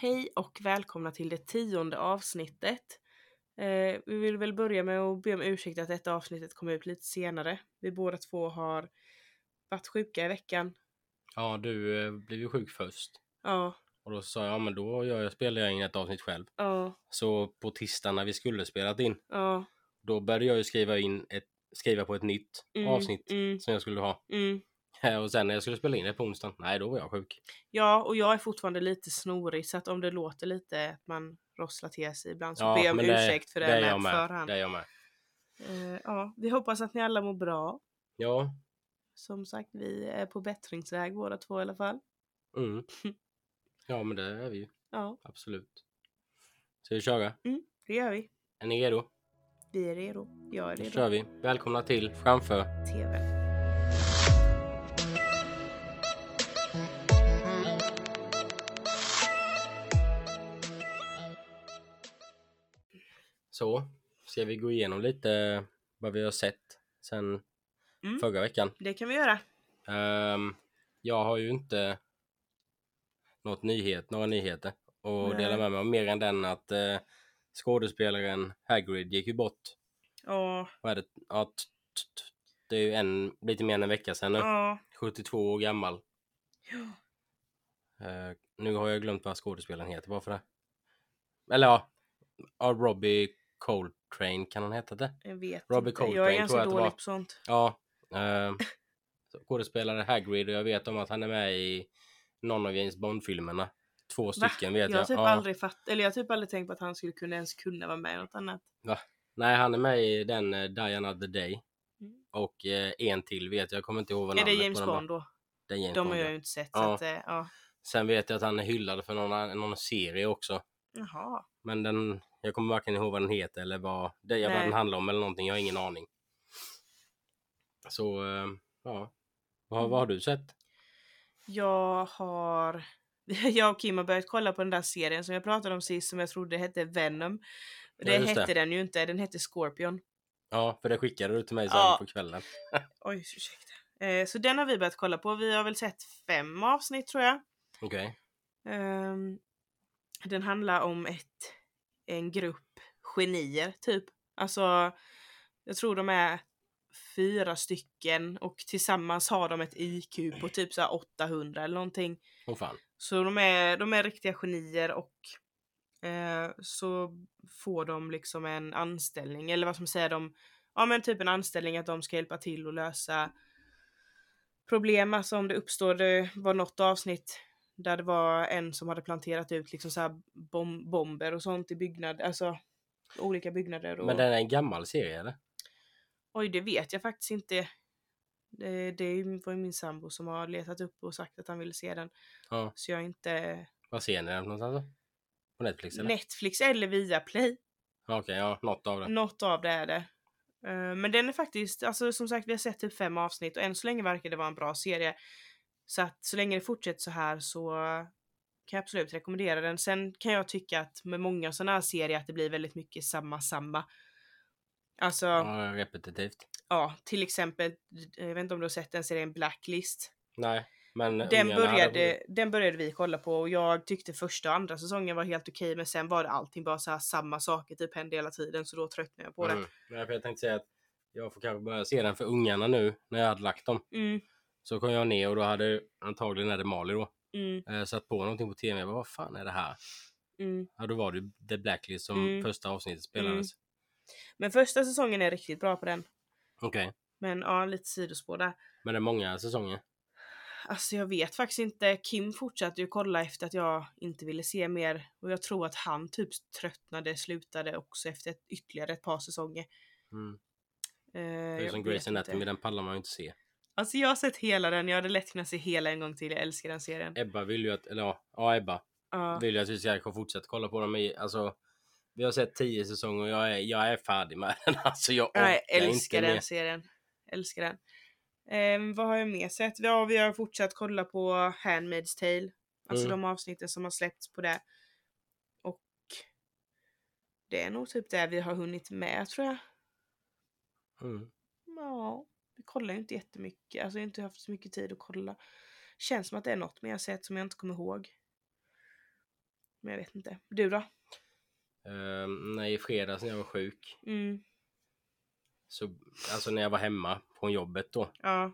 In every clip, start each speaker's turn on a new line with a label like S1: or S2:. S1: Hej och välkomna till det tionde avsnittet. Eh, vi vill väl börja med att be om ursäkt att detta avsnittet kommer ut lite senare. Vi båda två har varit sjuka i veckan.
S2: Ja, du eh, blev ju sjuk först.
S1: Ja,
S2: Och då sa jag, ja men då gör jag, spelar jag in ett avsnitt själv.
S1: ja,
S2: Så på tisdagen när vi skulle spelat in,
S1: ja.
S2: då började jag ju skriva in ett, skriva på ett nytt
S1: Mm,
S2: avsnitt
S1: Mm,
S2: som jag skulle ha.
S1: mm.
S2: Och sen när jag skulle spela in det på onsdagen, nej då var jag sjuk.
S1: Ja, och jag är fortfarande lite snorig så att om det låter lite att man rosslar till sig ibland så ber jag om
S2: men det-
S1: ursäkt för det,
S2: det är
S1: med
S2: jag
S1: på förhand.
S2: Det är jag med.
S1: Eh, ja, vi hoppas att ni alla mår bra.
S2: Ja,
S1: Som sagt, vi är på bättringsväg båda två i alla fall.
S2: mm. Ja men det är vi ju,
S1: Ja,
S2: absolut. Ska vi köra?
S1: det gör vi.
S2: Är ni redo?
S1: Vi är redo. Jag är
S2: Då
S1: redo.
S2: kör vi. Välkomna till Framför.
S1: TV.
S2: Så, ska vi gå igenom lite vad vi har sett sen
S1: Mm.
S2: förra veckan.
S1: Det kan vi göra.
S2: Ehm, jag har ju inte något nyhet, några nyheter att
S1: Nej.
S2: dela med mig av mer än den att eh, skådespelaren Hagrid gick ju bort.
S1: Ja,
S2: Vad är det? Ja, t- t- t- det är ju en, lite mer än en vecka sedan nu.
S1: ja.
S2: 72 år gammal.
S1: Ja.
S2: Eh, nu har jag glömt vad skådespelaren heter, varför det? Eller ja, ja, Robbie Coltrane kan han heta det?
S1: Jag vet
S2: Robbie
S1: inte. Jag
S2: Coltrane
S1: är
S2: tror
S1: ganska
S2: jag att det
S1: dålig
S2: var.
S1: på sånt.
S2: Ja. Eh, skådespelare Hagrid och jag vet om att han är med i någon av James Bond-filmerna. Två stycken vet
S1: Jag
S2: jag.
S1: har typ
S2: ja.
S1: aldrig fatt... Eller jag har typ aldrig tänkt på att han skulle kunna ens kunna vara med i något annat.
S2: Nej, han är med i den eh, Die Another Day.
S1: Mm.
S2: Och eh, en till vet jag, jag kommer inte ihåg vad
S1: är det
S2: namnet
S1: James
S2: på den var.
S1: Bond då?
S2: Det är James
S1: De har
S2: Bond,
S1: jag
S2: ja.
S1: ju inte sett. Så
S2: Ja.
S1: att, eh, ja.
S2: Sen vet jag att han är hyllad för någon, någon serie också.
S1: Jaha.
S2: Men den, jag kommer varken ihåg vad den heter eller vad, det, vad
S1: Nej.
S2: den handlar om eller någonting. Jag har ingen aning. Så, eh, ja. Vad, vad har du sett?
S1: Jag har... Jag och Kim har börjat kolla på den där serien som jag pratade om sist som jag trodde hette Venom. Det
S2: just det.
S1: hette den ju inte, den hette Scorpion.
S2: Ja, för det skickade du till mig sen
S1: Ja.
S2: på kvällen.
S1: Oj, ursäkta. Eh, så den har vi börjat kolla på. Vi har väl sett fem avsnitt tror jag.
S2: Okej.
S1: Ehm, den handlar om ett, en grupp genier typ. Alltså, jag tror de är fyra stycken och tillsammans har de ett IQ på typ så här 800 eller någonting.
S2: Åh fan.
S1: Så de är, de är riktiga genier och eh, så får de liksom en anställning eller vad som säger de, ja men typ en anställning att de ska hjälpa till och lösa problem, alltså om det uppstår, det var något avsnitt där det var en som hade planterat ut liksom så här bom- bomber och sånt i byggnader, alltså olika byggnader och...
S2: Men den är en gammal serie eller?
S1: Oj, det vet jag faktiskt inte. Det, det är ju- var ju min sambo som har letat upp och sagt att han ville se den.
S2: Ja.
S1: Så jag har inte
S2: Vad ser ni den någonstans då? På Netflix eller?
S1: Netflix eller Viaplay.
S2: Ja, Okej, ja. Något av det.
S1: Något av det är det. Eh, Men den är faktiskt, alltså som sagt vi har sett typ fem avsnitt och än så länge verkar det vara en bra serie. Så att så länge det fortsätter så här så kan jag absolut rekommendera den. Sen kan jag tycka att med många sådana här serier att det blir väldigt mycket samma samma. Alltså ja,
S2: Ja, repetitivt.
S1: till exempel, eh, jag vet inte om du har sett den serien Blacklist.
S2: Nej, men
S1: Den
S2: ungarna hade-
S1: började, den började vi kolla på och jag tyckte första och andra säsongen var helt okej men sen var det allting bara så här samma saker typ hände hela tiden så då tröttnade jag på
S2: Mm. Nej, för jag tänkte säga att jag får kanske börja se den för ungarna nu när jag hade lagt dem.
S1: det. Mm,
S2: Så kom jag ner och då hade antagligen är det Mali då
S1: mm,
S2: eh, satt på någonting på tv. Jag bara, vad fan är det här?
S1: mm.
S2: Ja, då var det ju The Blacklist som
S1: Mm.
S2: första avsnittet spelades.
S1: Men första säsongen är riktigt bra på den.
S2: Okej,
S1: Men ja, lite sidospår där.
S2: men det är många säsonger.
S1: Alltså jag vet faktiskt inte. Kim fortsatte ju kolla efter att jag inte ville se mer. Och jag tror att han typ tröttnade, slutade också efter ett, ytterligare ett par säsonger.
S2: Mm.
S1: Eh,
S2: Det är
S1: jag
S2: som
S1: vet
S2: Grace Anatomy,
S1: inte.
S2: den pallar man ju inte se.
S1: Alltså jag har sett hela den, jag hade lätt kunnat se hela en gång till. Jag älskar den serien.
S2: Ebba vill ju att, eller ja, ja Ebba
S1: Ja,
S2: vill ju att vi ska fortsätta kolla på dem i, alltså vi har sett tio säsonger och jag är, jag är färdig med den. Alltså jag orkar
S1: jag älskar
S2: inte
S1: den
S2: mer.
S1: serien. Älskar den. Ehm, vad har jag mer sett? Ja, vi har fortsatt kolla på Handmaid's Tale. Alltså
S2: Mm.
S1: de avsnitten som har släppts på det. Och det är nog typ det vi har hunnit med tror jag.
S2: Mm.
S1: Ja, vi kollar ju inte jättemycket. Alltså jag har inte haft så mycket tid att kolla. Känns som att det är något men jag har sett som jag inte kommer ihåg. Men jag vet inte. Du då?
S2: Ehm, nej, i fredags när jag var sjuk,
S1: Mm.
S2: så, alltså när jag var hemma från jobbet då,
S1: Ja.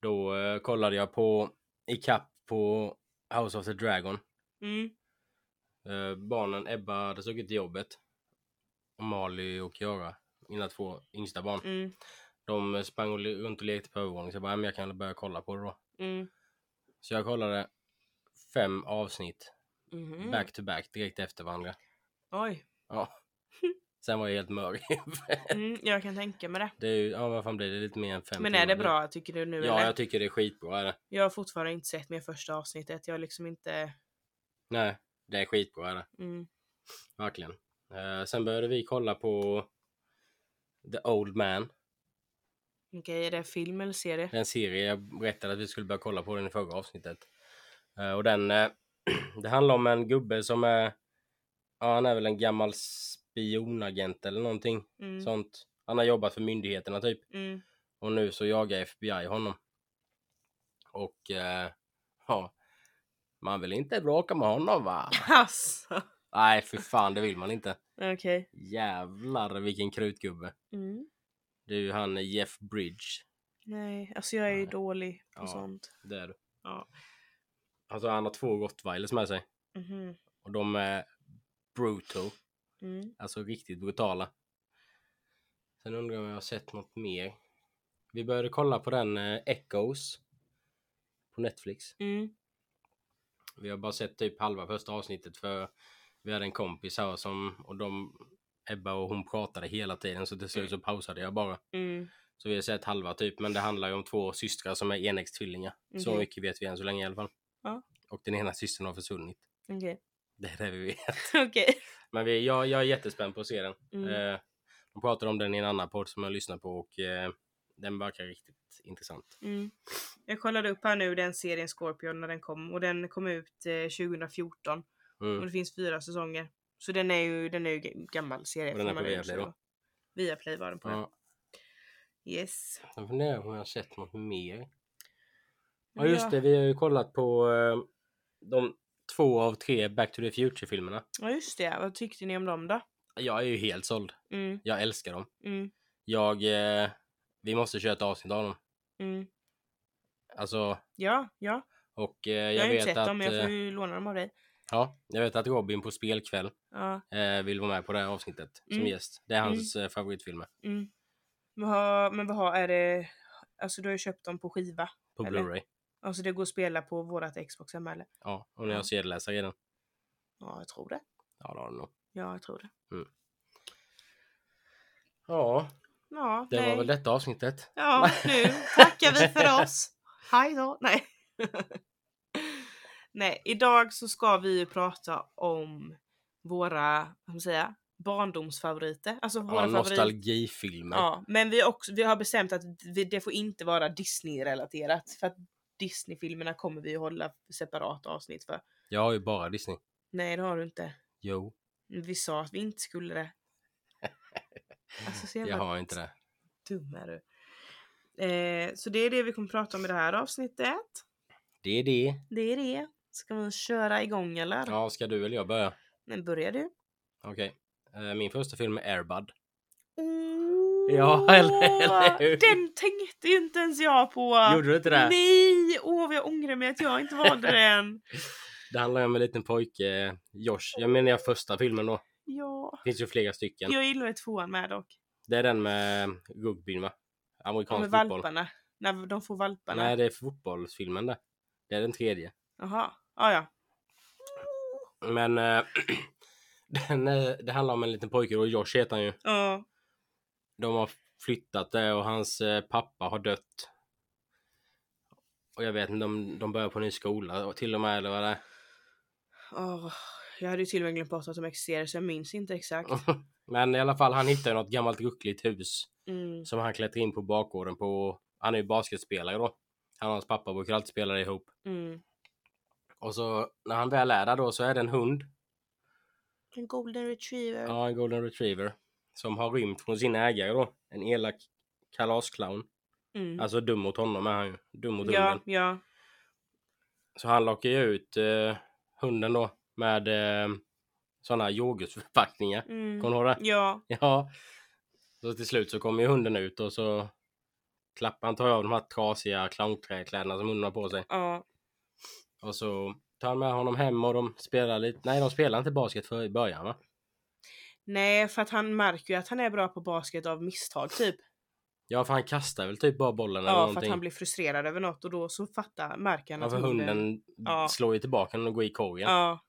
S2: då eh, kollade jag på ikapp på House of the Dragon.
S1: Mm.
S2: Eh, barnen Ebba hade stuckit till jobbet. Och Mali och Kiara, mina två yngsta barn.
S1: Mm.
S2: De sprang och le- runt och lekte på övervåningen så jag bara, "Ja, men jag kan väl börja kolla på det då.
S1: Mm.
S2: Så jag kollade fem avsnitt
S1: Mhm.
S2: back to back direkt efter varandra.
S1: Oj.
S2: Ja. Sen var jag helt mör.
S1: Mm, jag kan tänka mig det.
S2: det är ju, ja vad fan blir det, lite mer än fem
S1: Men är det
S2: timmar
S1: bra tycker du nu
S2: nu. Ja,
S1: eller?
S2: jag tycker det är skitbra. Är det?
S1: Jag har fortfarande inte sett mer första avsnittet. Jag har liksom inte...
S2: Nej, det är skitbra är det.
S1: Mm.
S2: Verkligen. Eh, sen började vi kolla på The Old Man.
S1: Okej, är det film eller serie?
S2: Det är en serie jag berättade att vi skulle börja kolla på den i förra avsnittet. Eh, och den, eh, det handlar om en gubbe som är, ja han är väl en gammal spionagent eller någonting
S1: Mm.
S2: sånt. Han har jobbat för myndigheterna typ.
S1: Mm.
S2: Och nu så jagar FBI honom. Och eh, ja, man vill inte bråka med honom va?
S1: Alltså.
S2: Nej för fan det vill man inte.
S1: Okej.
S2: Jävlar vilken krutgubbe.
S1: Mm.
S2: Det är ju han Jeff Bridge.
S1: Nej, alltså jag är ju
S2: Nej.
S1: dålig på
S2: Ja.
S1: sånt.
S2: Det är du.
S1: Ja.
S2: Alltså han har två rottweilers med sig.
S1: Mhm.
S2: Och de är brutal.
S1: Mm.
S2: Alltså riktigt brutala. Sen undrar jag om jag har sett något mer. Vi började kolla på den eh, Echoes. På Netflix.
S1: Mm.
S2: Vi har bara sett typ halva första avsnittet för vi hade en kompis här som och de Ebba och hon pratade hela tiden så till slut så pausade jag bara.
S1: Mm.
S2: Så vi har sett halva typ men det handlar ju om två systrar som är enäggstvillingar. Så
S1: Mhm.
S2: mycket vet vi än så länge i alla fall.
S1: Ja.
S2: Och den ena systern har försvunnit.
S1: Okej.
S2: Det är det vi vet.
S1: Okej.
S2: Men vi, jag, jag är jättespänd på att se den.
S1: Mm.
S2: Eh, de pratar om den i en annan podd som jag lyssnar på och eh, den verkar riktigt intressant.
S1: Mm. Jag kollade upp här nu den serien Scorpion när den kom och den kom ut eh, 2014 och
S2: Mm.
S1: det finns fyra säsonger. Så den är ju, den är ju g- gammal serie.
S2: Och den
S1: får
S2: är
S1: man
S2: på
S1: ju
S2: Viaplay
S1: säga.
S2: då?
S1: Viaplay var den på. Ja.
S2: Ja,
S1: Yes.
S2: sen funderar jag om jag har sett något mer. Ja
S1: Men
S2: just
S1: jag-
S2: det, vi har ju kollat på eh, de två av tre Back to the Future-filmerna.
S1: Ja just det, vad tyckte ni om dem då?
S2: Jag är ju helt såld.
S1: Mm,
S2: Jag älskar dem.
S1: mm,
S2: Jag... Eh, vi måste köra ett avsnitt av dem.
S1: mm.
S2: Alltså,
S1: Ja, ja.
S2: och eh, jag,
S1: Jag, har ju
S2: vet
S1: inte sett
S2: att...
S1: dem men jag får
S2: eh,
S1: ju låna dem av dig.
S2: ja, jag vet att Robin på spelkväll
S1: Ja,
S2: eh, vill vara med på det här avsnittet som
S1: Mm.
S2: gäst. Det är hans eh, favoritfilmer.
S1: mm. Men, ha, men vad har, är det? Alltså du har ju köpt dem på skiva.
S2: På
S1: Eller?
S2: Blu-ray.
S1: Alltså det går att spela på vårat Xbox hemma eller?
S2: Ja, och när
S1: Ja.
S2: jag sedeläsare redan.
S1: Ja, jag tror det.
S2: Ja, det har du nog.
S1: Ja, jag tror det.
S2: Ja,
S1: Ja,
S2: det
S1: nej.
S2: var väl detta avsnittet.
S1: Ja, nu tackar vi för oss. Hej då. Nej. Nej, idag så ska vi ju prata om våra, vad ska man säga, barndomsfavoriter. Alltså våra
S2: Ja,
S1: favoriter.
S2: nostalgifilmer.
S1: Ja, men vi, har också, vi har bestämt att vi, det får inte vara Disney-relaterat. För att Disney-filmerna kommer vi ju hålla separat avsnitt för.
S2: Jag har ju bara Disney.
S1: Nej, det har du inte.
S2: Jo,
S1: Vi sa att vi inte skulle det. Alltså så jävla
S2: jag har inte det.
S1: dum är du. Eh, så det är det vi kommer prata om i det här avsnittet.
S2: Det är det.
S1: Det är det. Ska vi köra igång eller?
S2: Ja, ska du eller jag börja?
S1: Men börjar du?
S2: Okej. Eh, Min första film är Airbud.
S1: Åh,
S2: eller- eller hur?
S1: Den tänkte ju inte ens jag på!
S2: Gjorde du inte det?
S1: Nej! Åh vad jag ångrar mig att jag inte valde den.
S2: Det handlar ju om en liten pojke, eh, Josh. Jag menar jag första filmen då.
S1: Ja.
S2: Det finns ju flera stycken.
S1: Jag gillar ju tvåan med dock.
S2: Det är den med eh, rugbyn va?
S1: Ja,
S2: Amerikansk
S1: med
S2: fotboll.
S1: valparna. När de får valparna.
S2: Nej, det är fotbollsfilmen det. Det är den tredje.
S1: Jaha. Ah, ja.
S2: Men eh, den, eh, det handlar om en liten pojke och Josh heter han ju.
S1: Ja.
S2: De har flyttat det och hans eh, pappa har dött. Och jag vet inte, de, de börjar på en ny skola och till och med eller vad det är.
S1: Åh, jag hade ju till och med glömt bort att de existerar så jag minns inte exakt.
S2: Men i alla fall, han hittar ju något gammalt ruckligt hus.
S1: Mm.
S2: som han klättrar in på bakgården på. Han är ju basketspelare då. Han och hans pappa brukar alltid spela ihop.
S1: Mm.
S2: Och så när han väl är där då så är det en hund.
S1: En golden retriever.
S2: Ja, en golden retriever. Som har rymt från sin ägare då. En elak kalasclown.
S1: Mm.
S2: Alltså dum mot honom är han ju. Dum mot
S1: ja,
S2: hunden.
S1: ja.
S2: Så han lockar ju ut eh, hunden då. Med eh, sådana yoghurtförpackningar.
S1: Mm.
S2: Kommer du ihåg det?
S1: Ja.
S2: Ja. Så till slut så kommer ju hunden ut och så klappar han tar av de här trasiga clownträkläderna som hunden har på sig.
S1: ja.
S2: Och så tar han med honom hem och de spelar lite. Nej, de spelar inte basket för i början va?
S1: Nej, för att han märker ju att han är bra på basket av misstag typ.
S2: Ja, för han kastar väl typ bara bollen eller
S1: Ja, för att
S2: någonting.
S1: han blir frustrerad över något och då så fattar, märker han
S2: ja,
S1: att
S2: för hunden
S1: Ja.
S2: slår ju tillbaka den och går i korgen.
S1: Ja.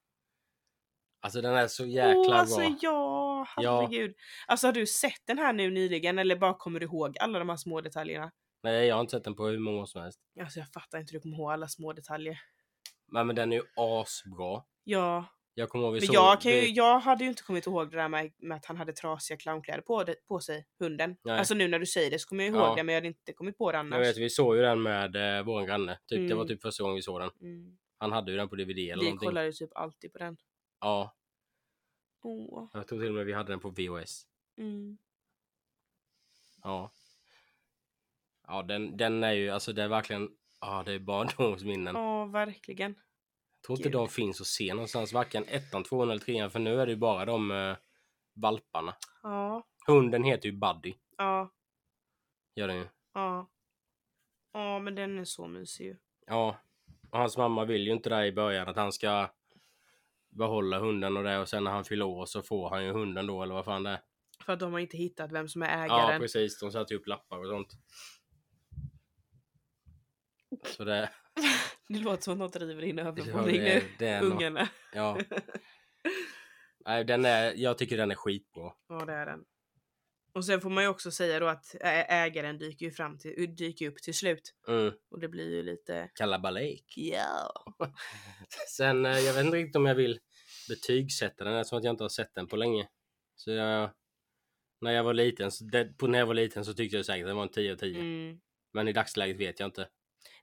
S2: Alltså den är så jäkla
S1: Åh,
S2: bra.
S1: alltså ja,
S2: Ja.
S1: herregud. Alltså har du sett den här nu nyligen eller bara kommer du ihåg alla de här små detaljerna?
S2: Nej, jag har inte sett den på hur många år som helst.
S1: Alltså jag fattar inte hur du kommer ihåg alla små detaljer.
S2: Men, men den är ju asbra.
S1: Ja,
S2: Jag kommer ihåg vi
S1: men
S2: såg...
S1: jag, kan ju,
S2: vi-
S1: jag hade ju inte kommit ihåg det där med, med att han hade trasiga clownkläder på, det- på sig, hunden.
S2: Nej.
S1: Alltså nu när du säger det så kommer jag ihåg
S2: Ja.
S1: det men jag hade inte kommit på det
S2: Jag
S1: annars.
S2: vet, vi såg ju den med eh, våran granne. Typ, Det var
S1: Mm.
S2: typ första gången vi såg den.
S1: Mm.
S2: Han hade ju den på DVD eller
S1: Vi
S2: någonting.
S1: kollade ju typ alltid på den.
S2: Ja,
S1: Åh.
S2: jag tror till och med vi hade den på VHS.
S1: Mm.
S2: Ja. Ja, den, den är ju, alltså det är verkligen, ja det är barndomsminnen.
S1: Ja, verkligen.
S2: jag tror inte
S1: gud.
S2: de finns att se någonstans, varken ettan, tvåan eller trean, för nu är det ju bara de eh, valparna.
S1: Ja,
S2: Hunden heter ju Buddy,
S1: ja,
S2: gör den ju.
S1: ja. Ja, men den är så mysig ju.
S2: Ja, och hans mamma vill ju inte det i början, att han ska behålla hunden och det och sen när han fyller år så får han ju hunden då eller vad fan det är.
S1: För att de har inte hittat vem som är
S2: Ja,
S1: ägaren.
S2: precis. De satte ju upp lappar och sånt. Så det...
S1: det låter som att något river in
S2: Ja,
S1: övervåning
S2: det,
S1: nu.
S2: det är nog-
S1: Ungarna.
S2: Ja. Nej, den är, jag tycker den är skitbra.
S1: Ja, det är den. Och sen får man ju också säga då att ä- ägaren dyker ju fram till, dyker upp till slut.
S2: Mm.
S1: Och det blir ju lite...
S2: Kalabalik.
S1: Ja.
S2: Sen, eh, jag vet inte riktigt om jag vill betygsätta den eftersom att jag inte har sett den på länge. Så jag... När jag var liten, så, det, på, när jag var liten så tyckte jag säkert att det var en 10 av 10.
S1: Mm.
S2: Men i dagsläget vet jag inte.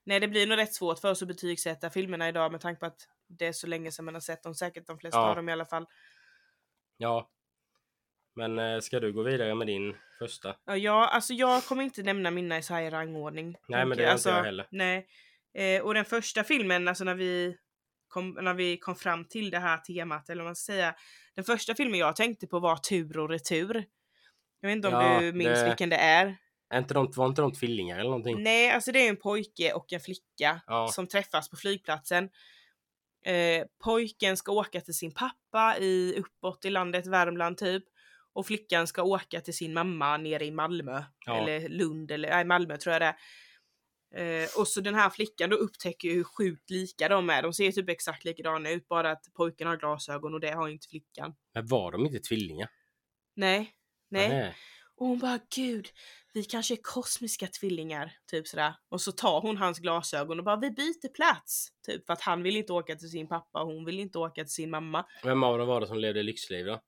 S1: Nej, det blir nog rätt svårt för oss att betygsätta filmerna idag med tanke på att det är så länge sedan man har sett dem. Säkert de flesta
S2: Ja.
S1: av dem i alla fall.
S2: Ja. Men eh, ska du gå vidare med din första?
S1: Ja, jag, alltså jag kommer inte nämna mina i så här i rangordning.
S2: Nej, men
S1: tänker
S2: det gör inte jag heller.
S1: Nej. Eh, och den första filmen, alltså när vi, kom, när vi kom fram till det här temat, eller vad man ska säga. Den första filmen jag tänkte på var Tur och retur. Jag vet inte om
S2: Ja,
S1: du minns
S2: det-
S1: vilken det är?
S2: Är inte de, var inte de tvillingar eller någonting?
S1: Nej, alltså det är en pojke och en flicka
S2: Mm. Ja.
S1: som träffas på flygplatsen. Eh, pojken ska åka till sin pappa i uppåt i landet, Värmland typ. Och flickan ska åka till sin mamma nere i Malmö.
S2: Ja.
S1: Eller Lund, eller nej, Malmö tror jag det är. Eh, och så den här flickan då upptäcker ju hur sjukt lika de är. De ser typ exakt likadana ut, bara att pojken har glasögon och det har inte flickan.
S2: Men var de inte tvillingar?
S1: Nej. Nej.
S2: Nähä.
S1: Och hon bara gud, vi kanske är kosmiska tvillingar. Typ sådär. Och så tar hon hans glasögon och bara vi byter plats. Typ för att han vill inte åka till sin pappa och hon vill inte åka till sin mamma.
S2: Vem av dem var det som levde lyxliv då?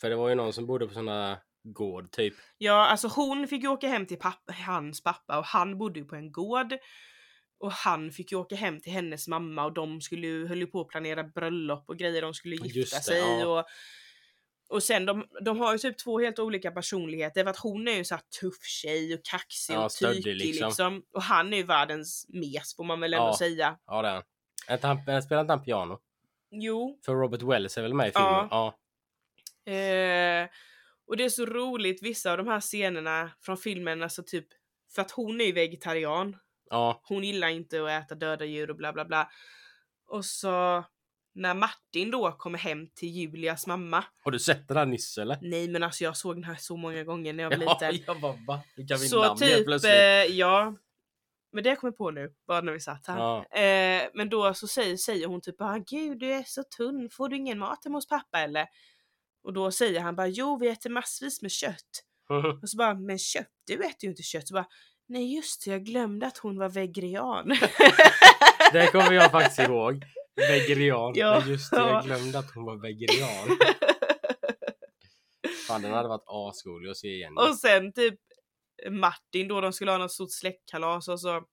S2: För det var ju någon som bodde på såna gård typ.
S1: Ja, alltså hon fick ju åka hem till papp- hans pappa och han bodde ju på en gård. Och han fick ju åka hem till hennes mamma och de skulle ju, höll ju på att planera bröllop och grejer, de skulle
S2: Ja,
S1: gifta
S2: just det,
S1: sig
S2: ja.
S1: och... Och sen de, de har ju typ två helt olika personligheter för att hon är ju så här tuff tjej och kaxig
S2: Ja,
S1: och
S2: stöddig,
S1: tykig liksom.
S2: liksom.
S1: Och han är ju världens mes får man väl ändå
S2: Ja.
S1: säga.
S2: Ja det är han. Är inte han. men Spelar inte han piano?
S1: Jo,
S2: För Robert Wells är väl med i filmen?
S1: Ja.
S2: Ja.
S1: Eh, och det är så roligt, vissa av de här scenerna från filmen, alltså typ, för att hon är ju vegetarian.
S2: Ja.
S1: Hon gillar inte att äta döda djur och bla bla bla. Och så när Martin då kommer hem till Julias mamma.
S2: Har du sett den här nyss eller?
S1: Nej men alltså jag såg den här så många gånger när jag var
S2: Ja,
S1: liten.
S2: jag bara va? Du kan min
S1: Så
S2: namn helt
S1: typ,
S2: plötsligt.
S1: eh, ja. Men det jag kommer på nu, bara när vi satt här.
S2: Ja.
S1: Eh, men då så säger, säger hon typ bara gud du är så tunn, får du ingen mat hemma hos pappa eller? Och då säger han bara jo vi äter massvis med kött. Och så bara men kött, du äter ju inte kött. Så bara nej just det jag glömde att hon var vegetarian.
S2: det kommer jag faktiskt ihåg. Vegerian.
S1: Ja.
S2: Ja. Just det, jag
S1: Ja.
S2: glömde att hon var vegerian. Fan den hade varit asrolig att se igen.
S1: och sen typ Martin då, de skulle ha något stort släktkalas och så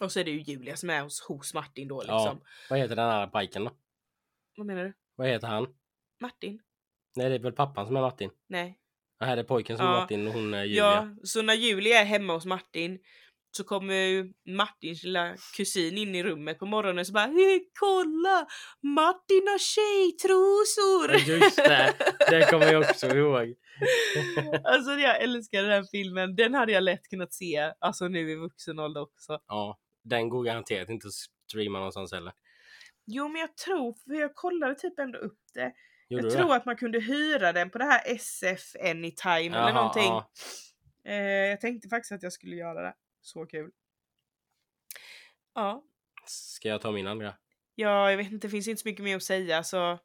S1: och så är det ju Julia som är hos, hos Martin då liksom.
S2: Ja. Vad heter den här pojken då?
S1: Vad menar du?
S2: Vad heter han?
S1: Martin?
S2: Nej det är väl pappan som är Martin?
S1: Nej.
S2: Det här är pojken som
S1: Ja.
S2: är Martin och hon är Julia.
S1: Ja, så när Julia är hemma hos Martin så kommer ju Martins lilla kusin in i rummet på morgonen så bara "Hej, kolla Martin har
S2: Ja,
S1: tjejtrosor!
S2: Just det, det kommer jag också ihåg.
S1: alltså jag älskar den här filmen. Den hade jag lätt kunnat se alltså nu i vuxen ålder också.
S2: Ja, den går garanterat inte att streama någonstans heller.
S1: Jo men jag tror, för jag kollade typ ändå upp det. jag
S2: Gjorde du
S1: tror
S2: det?
S1: att man kunde hyra den på det här SF Anytime
S2: Jaha,
S1: eller någonting.
S2: ja.
S1: Eh, jag tänkte faktiskt att jag skulle göra det. Så kul. Ja,
S2: Ska jag ta min andra?
S1: ja jag vet inte, det finns inte så mycket mer att säga så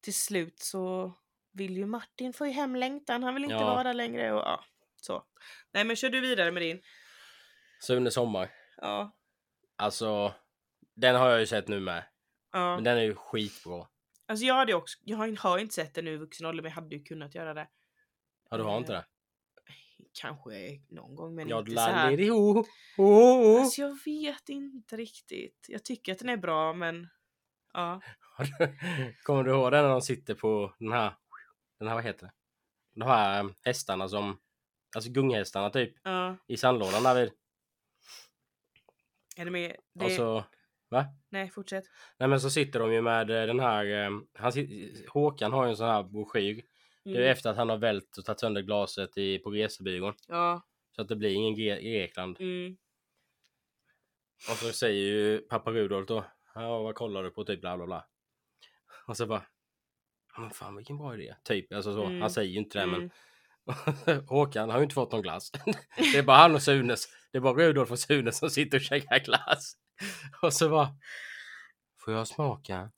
S1: till slut så vill ju Martin få hem längtan. Han vill inte
S2: Ja.
S1: vara där längre och ja, så. Nej men kör du vidare med din.
S2: Sune Sommar.
S1: Ja,
S2: Alltså, den har jag ju sett nu med.
S1: ja.
S2: Men den är ju skitbra.
S1: Alltså jag hade också, jag har- har inte sett det nu i vuxen ålder men jag hade ju kunnat göra det.
S2: Ja, du har inte det?
S1: Kanske någon gång men
S2: Jag
S1: inte så här.
S2: lallir ho, ho.
S1: Alltså jag vet inte riktigt. Jag tycker att den är bra men ja.
S2: Kommer du ihåg den när de sitter på den här, den här vad heter det? De här eh, hästarna som, alltså gunghästarna typ,
S1: ja.
S2: i sandlådan David.
S1: Är det med? Det...
S2: Och så, va?
S1: Nej fortsätt.
S2: Nej men så sitter de ju med eh, den här, eh, han, sit- Håkan har ju en sån här broschyr. Det är ju
S1: Mm.
S2: efter att han har vält och tagit sönder glaset i, på resebyrån.
S1: Ja.
S2: Så att det blir ingen Gre- Grekland.
S1: Mm.
S2: Och så säger ju pappa Rudolf då. Ja, vad kollar du på? Typ bla bla bla. Och så bara. Ja, men fan vilken bra idé. Typ, alltså så.
S1: Mm.
S2: Han säger ju inte det
S1: Mm.
S2: men. Håkan har ju inte fått någon glass. det är bara han och Sunes. Det är bara Rudolf och Sune som sitter och käkar glass. Och så bara. Får jag smaka?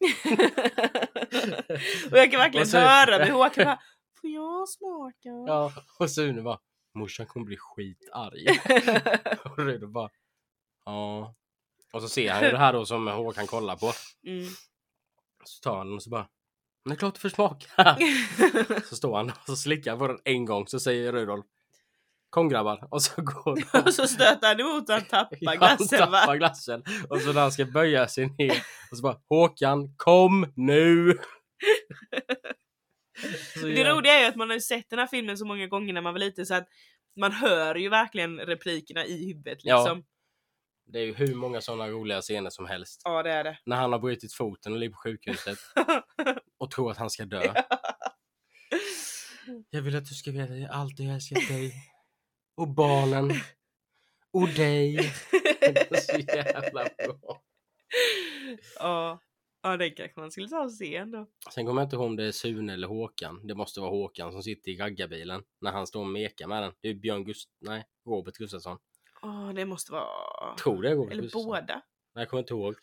S1: och jag kan verkligen
S2: Och så-
S1: höra hur Håkan bara Får jag smaka?
S2: Ja. Och Sune bara. Morsan kommer bli skitarg. och Rudolf bara. Ja. Och så ser han ju det här då som Håkan kollar på.
S1: Mm.
S2: Så tar han den och så bara. Men det är klart du får smaka. Så står han och så slickar han på den en gång så säger Rudolf Kom grabbar och så går han.
S1: och så stöter han emot och han tappar glassen
S2: Han
S1: va?
S2: tappar glassen. Och så när han ska böja sig ner och så bara Håkan kom nu! Så
S1: Det
S2: gör han.
S1: roliga är ju att man har ju sett den här filmen så många gånger när man var liten så att man hör ju verkligen replikerna i huvudet
S2: Ja.
S1: liksom.
S2: Det är ju hur många sådana roliga scener som helst.
S1: Ja, det är det.
S2: När han har brutit foten och ligger på sjukhuset och tror att han ska dö. Jag vill att du ska veta att jag alltid har älskat dig. Och barnen. Och dig. Det är så jävla bra.
S1: ja. ja, den kanske man skulle ta och se ändå.
S2: Sen kommer jag inte ihåg om det är Sune eller Håkan. Det måste vara Håkan som sitter i raggarbilen när han står och mekar med den. Det är Björn Gust... Nej, Robert Gustafsson.
S1: Åh, det måste vara...
S2: Tror det är Robert
S1: Eller
S2: Gustafsson.
S1: båda.
S2: Nej, jag kommer inte ihåg.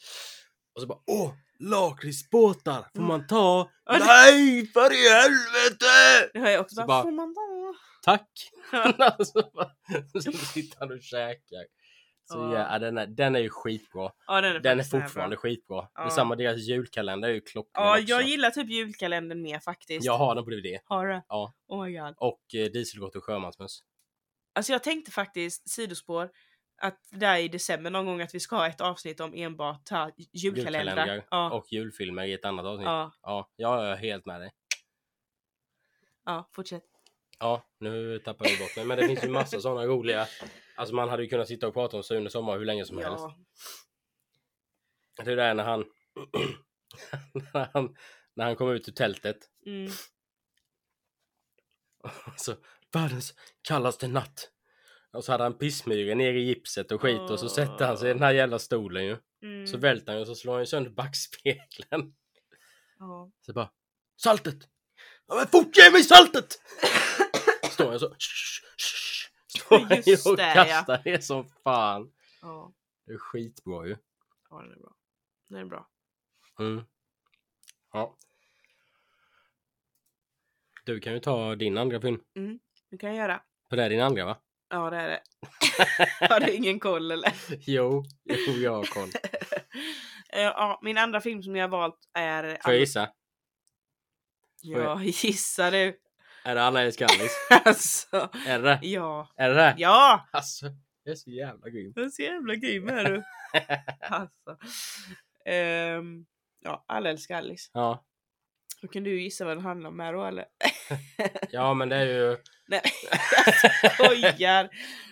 S2: Och så bara Åh! Lakritsbåtar! Får man ta?
S1: Ja, det-
S2: Nej! För i helvete!
S1: Det hör jag också.
S2: Så
S1: Bara,
S2: bara-
S1: Får man då?
S2: Tack! alltså, bara- så sitter han och käkar. Så
S1: Ja.
S2: ja, den, är, den är ju skitbra.
S1: Ja, den är,
S2: Den är
S1: faktiskt jävla
S2: fortfarande
S1: bra.
S2: skitbra.
S1: Ja.
S2: Detsamma deras julkalender är ju klockren
S1: Ja,
S2: också.
S1: jag gillar typ julkalendern mer faktiskt.
S2: jag har den på DVD.
S1: Har du?
S2: Ja.
S1: Oh my god.
S2: Och eh, Dieselgott och sjömansmöss.
S1: Alltså jag tänkte faktiskt, sidospår, att där i december någon gång att vi ska ha ett avsnitt om enbart ta- julkalendrar.
S2: julkalendrar
S1: Ja,
S2: och julfilmer i ett annat avsnitt. Ja,
S1: ja,
S2: jag är helt med dig.
S1: ja, fortsätt.
S2: Ja, nu tappar jag bort mig. Men det finns ju massa sådana roliga. Alltså man hade ju kunnat sitta och prata om Sune Sommar hur länge som helst.
S1: Ja.
S2: Det är där när han, när han när han kom ut ur tältet.
S1: Mm.
S2: Alltså, världens kallaste natt. Och så hade han pissmyror ner i gipset och skit och så sätter han sig i den här jävla stolen ju.
S1: Mm.
S2: Så välter han ju och så slår han ju sönder backspegeln.
S1: ja.
S2: Så bara Saltet! Ja men fort ge mig saltet! Står jag så Står han ju
S1: Just
S2: och
S1: det, ja.
S2: kastar det som fan.
S1: Ja.
S2: Det är skitbra ju.
S1: ja, den är bra. Den är bra.
S2: Mm. Ja. Du kan ju ta din andra film.
S1: Nu kan jag göra.
S2: För det är din andra va?
S1: Ja, det är det. Har du ingen koll eller?
S2: Jo, jo jag har koll.
S1: Eh, ja, min andra film som jag har valt är...
S2: Får jag gissa?
S1: Ja, gissar du?
S2: Är det Anna älskar Alice?
S1: alltså,
S2: Är det det?
S1: ja.
S2: Är det det?
S1: Ja!
S2: Alltså, det är så jävla grym.
S1: Du är så jävla grym är du. alltså. Ehm, ja, alla älskar Alice.
S2: Ja,
S1: Då kan du gissa vad den handlar om här då eller?
S2: Ja men det är ju...
S1: Nej, jag skojar!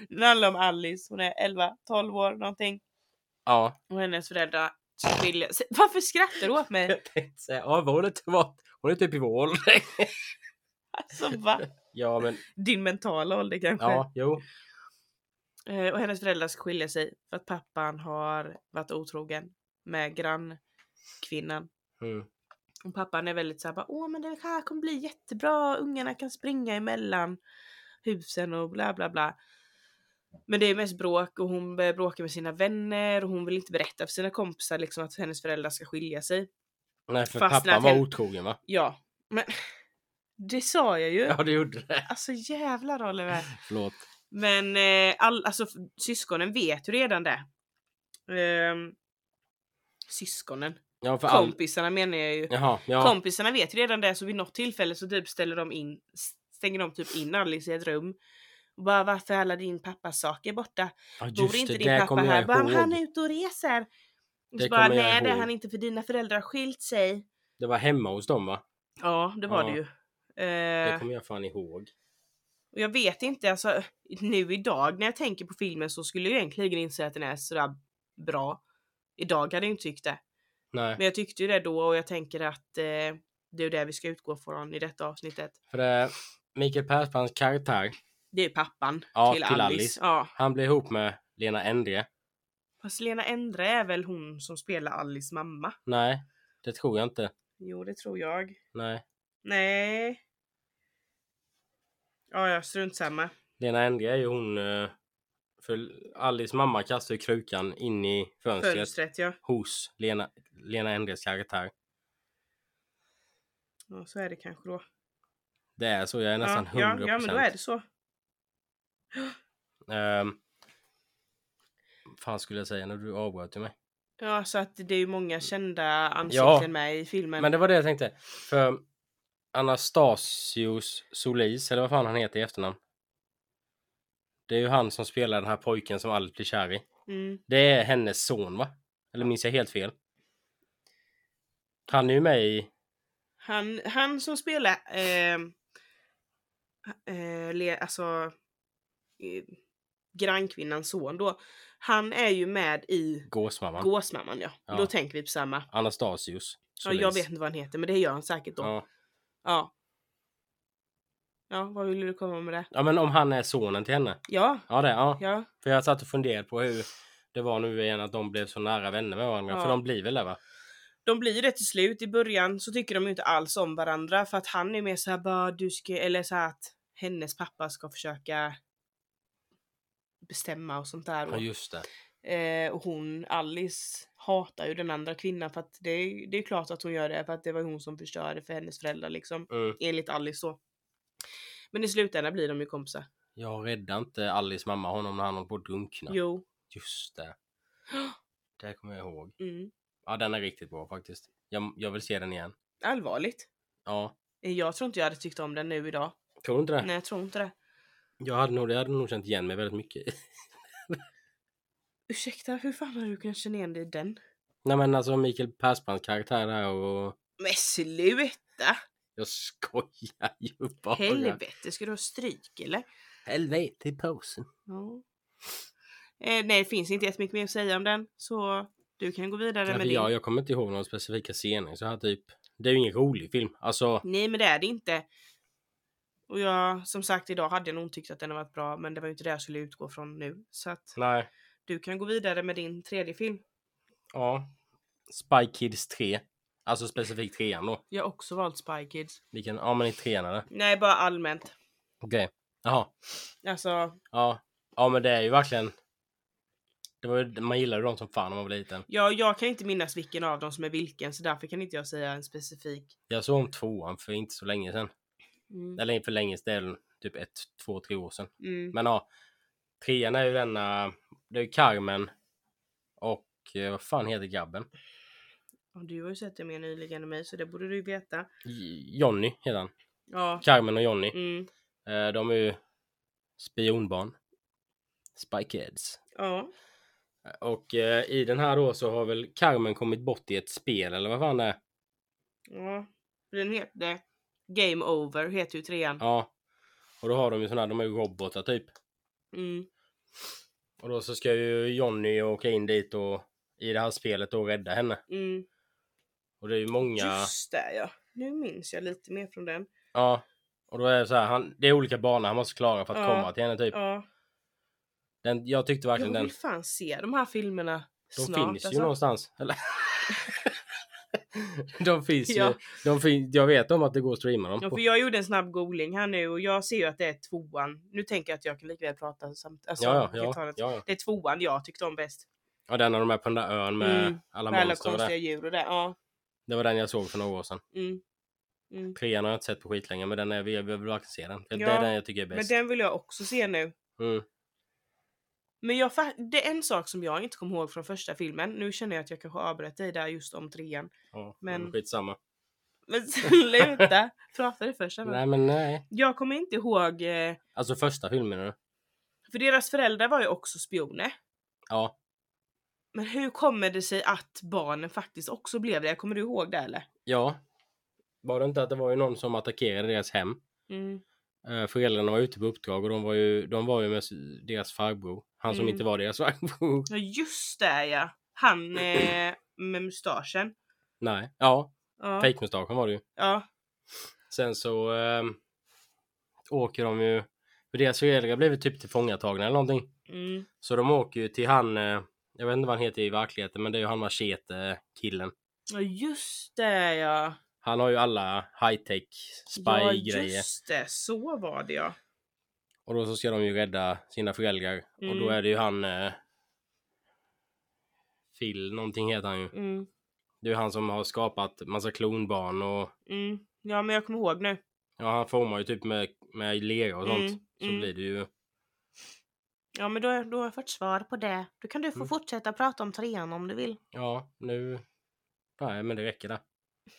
S1: Den handlar om Alice, hon är 11, 12 år någonting.
S2: Ja.
S1: Och hennes föräldrar skiljer sig. Varför skrattar du åt mig?
S2: Jag tänkte säga, ja vad hon inte varit... Hon är typ i vår ålder.
S1: Alltså va?
S2: Ja men,
S1: Din mentala ålder kanske?
S2: ja, jo.
S1: Eh, Och hennes föräldrar ska skilja sig för att pappan har varit otrogen med grannkvinnan.
S2: Mm.
S1: Och pappan är väldigt såhär bara, åh men det här kommer bli jättebra, ungarna kan springa emellan husen och bla bla bla. Men det är mest bråk och hon börjar bråka med sina vänner och hon vill inte berätta för sina kompisar liksom att hennes föräldrar ska skilja sig.
S2: Nej för
S1: Fastnat
S2: pappan var
S1: helt-
S2: otrogen va?
S1: Ja, men det sa jag ju.
S2: Ja det gjorde det.
S1: Alltså jävlar Oliver.
S2: Förlåt.
S1: Men eh, all, alltså, f- syskonen vet ju redan det. Ehm, syskonen.
S2: Ja för all...
S1: Kompisarna menar jag ju.
S2: Jaha, ja.
S1: Kompisarna vet ju redan det så vid något tillfälle så typ ställer de in, stänger de typ in Alice i ett rum. Och bara varför är alla din pappas saker borta?
S2: Ja,
S1: Bor inte din pappa
S2: kommer jag
S1: här? Bara,
S2: ihåg.
S1: han är ute och reser. Och
S2: Det
S1: så bara,
S2: kommer jag
S1: nej det är
S2: ihåg.
S1: han inte för dina föräldrar har skilt sig.
S2: Det var hemma hos dem va?
S1: Ja det var
S2: Ja.
S1: det ju.
S2: Det
S1: Eh,
S2: kommer jag fan ihåg.
S1: Och jag vet inte, alltså nu idag när jag tänker på filmen så skulle jag egentligen inte säga att den är sådär bra. Idag hade jag inte tyckt det.
S2: Nej.
S1: Men jag tyckte ju det då och jag tänker att eh, det är det vi ska utgå från i detta avsnittet.
S2: För det, Mikael Persbrandts karaktär,
S1: Det är ju pappan
S2: Ja,
S1: till,
S2: till
S1: Alice.
S2: Alice.
S1: Ja.
S2: han blir ihop med Lena Endre.
S1: Fast Lena Endre är väl hon som spelar Alice mamma?
S2: Nej, det tror jag inte.
S1: Jo, det tror jag.
S2: Nej.
S1: Nej. Ja, ja, strunt samma.
S2: Lena Endre är ju hon... eh, För Alice mamma kastar ju krukan in i fönstret
S1: Fönstret, ja.
S2: hos Lena, Lena Endres karaktär.
S1: ja. Så är det kanske då.
S2: Det är så, jag är nästan
S1: ja, ja,
S2: 100%.
S1: ja, men då är det så.
S2: Ehm, fan skulle jag säga när du avbröt ju mig?
S1: Ja, så att det är ju många kända ansikten
S2: Ja.
S1: med i filmen.
S2: Men det var det jag tänkte. För Anastasios Solis, eller vad fan han heter i efternamn. Det är ju han som spelar den här pojken som Alice blir kär i.
S1: Mm.
S2: Det är hennes son va? Eller minns jag helt fel? Han är ju med i...
S1: Han, han som spelar... Eh, eh, le, alltså... Eh, grannkvinnans son då. Han är ju med i
S2: Gåsmamman.
S1: Gåsmamman ja.
S2: Ja.
S1: Då tänker vi på samma.
S2: Anastasios.
S1: Ja, jag vet inte vad han heter men det gör han säkert då. Ja.
S2: Ja.
S1: Ja, vad ville du komma med det?
S2: ja men om han är sonen till henne.
S1: Ja,
S2: Ja det, ja.
S1: ja.
S2: För jag satt och funderade på hur det var nu igen att de blev så nära vänner med varandra.
S1: Ja.
S2: För de blir väl det va?
S1: De blir ju det till slut. I början så tycker de ju inte alls om varandra för att han är mer såhär bara du ska, eller så här att hennes pappa ska försöka bestämma och sånt där.
S2: Ja
S1: Och,
S2: just det.
S1: eh, och hon, Alice, hatar ju den andra kvinnan för att det, är- det är klart att hon gör det för att det var hon som förstörde för hennes föräldrar liksom.
S2: Mm.
S1: Enligt Alice så. Men i slutändan blir de ju kompisar.
S2: Jag räddade inte Alice mamma honom när han höll på att drunkna.
S1: Jo.
S2: Just det. Det kommer jag ihåg.
S1: Mm.
S2: Ja den är riktigt bra faktiskt. Jag, jag vill se den igen.
S1: Allvarligt. Eh,
S2: Ja.
S1: Jag tror inte jag hade tyckt om den nu idag.
S2: Tror du inte det?
S1: Nej, jag tror inte det.
S2: Jag hade nog, jag hade nog känt igen mig väldigt mycket i.
S1: Ursäkta, hur fan har du kunnat känna igen dig i den?
S2: Nej men alltså Mikael Persbrandts karaktär där och...
S1: Men sluta!
S2: Jag skojar ju bara.
S1: Helvete, ska du ha stryk eller?
S2: Helvete i påsen.
S1: Ja. Eh, nej, det finns inte jättemycket mer att säga om den. Så du kan gå vidare
S2: Nej,
S1: med
S2: för
S1: din.
S2: jag, jag kommer inte ihåg några specifika scener så här typ. Det är ju ingen rolig film. Alltså,
S1: Nej, men det är det inte. Och jag, som sagt, idag hade jag nog tyckt att den hade varit bra, men det var ju inte det jag skulle utgå från nu. Så att
S2: nej.
S1: du kan gå vidare med din tredje film.
S2: Ja. Spy Kids 3. Alltså specifikt trean då.
S1: Jag har också valt Spy Kids.
S2: Vilken, ja men i trean eller?
S1: Nej, bara allmänt.
S2: Okej. Jaha.
S1: Alltså,
S2: Ja. Ja men det är ju verkligen. Det var, ju- man gillar ju dem som fan när man var liten.
S1: Ja, jag kan inte minnas vilken av dem som är vilken så därför kan inte jag säga en specifik.
S2: Jag såg om tvåan för inte så länge sedan.
S1: Mm.
S2: Eller för länge sedan. Typ ett, två, tre år sedan.
S1: Mm.
S2: Men ja, trean är ju denna, det är ju Carmen och eh, vad fan heter grabben?
S1: Och du har ju sett det mer nyligen än mig så det borde du ju veta.
S2: J- Jonny heter han.
S1: Ja.
S2: Carmen och Jonny.
S1: Mm.
S2: Eh, de är ju spionbarn. Spy Kids.
S1: Ja.
S2: Och eh, i den här då så har väl Carmen kommit bort i ett spel eller vad fan det är.
S1: ja. Den heter Game Over, heter ju trean.
S2: Ja. Och då har de ju såna här, de är ju robotar typ.
S1: Mm.
S2: Och då så ska ju Johnny åka in dit och i det här spelet och rädda henne.
S1: Mm.
S2: Och det är ju många...
S1: Just det ja. Nu minns jag lite mer från den.
S2: Ja. Och då är det så här, han, det är olika banor han måste klara för att
S1: Ja.
S2: komma till henne typ.
S1: Ja.
S2: Den, jag tyckte verkligen
S1: jag
S2: den...
S1: vill fan se de här filmerna
S2: De
S1: snart.
S2: finns ju
S1: alltså.
S2: någonstans. Eller? de finns
S1: Ja.
S2: ju. De fin- jag vet om att det går att streama dem.
S1: Ja,
S2: på.
S1: för jag gjorde en snabb googling här nu och jag ser ju att det är tvåan. Nu tänker jag att jag kan lika väl prata samt, alltså,
S2: ja,
S1: jag
S2: ja,
S1: tar
S2: ja,
S1: det.
S2: ja.
S1: Det är tvåan jag tyckte om bäst.
S2: ja, den när de är på den där ön med
S1: Mm,
S2: alla
S1: Med alla
S2: monster och
S1: konstiga
S2: det.
S1: djur och det. Ja.
S2: Det var den jag såg för några år sedan.
S1: Mm. Mm.
S2: Trean har jag inte sett på skitlänge, men den är, jag vill verkligen se den. För Det
S1: Ja,
S2: är den jag tycker är
S1: Men
S2: bäst.
S1: den vill jag också se nu.
S2: Mm.
S1: Men jag, fa- det är en sak som jag inte kommer ihåg från första filmen. Nu känner jag att jag kanske avbröt dig där just om trean.
S2: Ja,
S1: Men-
S2: men... Skitsamma.
S1: Men sluta! Prata du först. Anna.
S2: Nej, men nej.
S1: Jag kommer inte ihåg, eh,
S2: Alltså första filmen menar du?
S1: för deras föräldrar var ju också spioner.
S2: Ja.
S1: Men hur kommer det sig att barnen faktiskt också blev det? Kommer du ihåg det eller?
S2: Ja. Var det inte att det var ju någon som attackerade deras hem?
S1: Mm.
S2: Eh, Föräldrarna var ute på uppdrag och de var ju, de var ju med s- deras farbror. Han som
S1: Mm.
S2: inte var deras farbror.
S1: Ja just det ja! Han eh, med mustaschen.
S2: Nej. Ja,
S1: Ja.
S2: fejkmustaschen var det ju.
S1: ja.
S2: Sen så ehm, åker de ju... För deras föräldrar blev ju typ tillfångatagna eller någonting.
S1: Mm.
S2: Så de åker ju till han... eh, jag vet inte vad han heter i verkligheten men det är ju han machete-killen.
S1: ja just det ja!
S2: Han har ju alla high-tech
S1: Ja
S2: spy-grejer.
S1: just det, så var det ja.
S2: Och då så ska de ju rädda sina föräldrar. Och
S1: Mm.
S2: då är det ju han... Eh, Phil någonting heter han ju.
S1: Mm.
S2: Det är ju han som har skapat massa klonbarn och
S1: Mm. Ja men jag kommer ihåg nu.
S2: ja, han formar ju typ med, med lera och sånt.
S1: Mm,
S2: Så
S1: mm.
S2: blir det ju...
S1: Ja men då, då har jag fått svar på det. Då kan du få
S2: Mm.
S1: fortsätta prata om trean om du vill.
S2: Ja, nu... Nej, men det räcker där.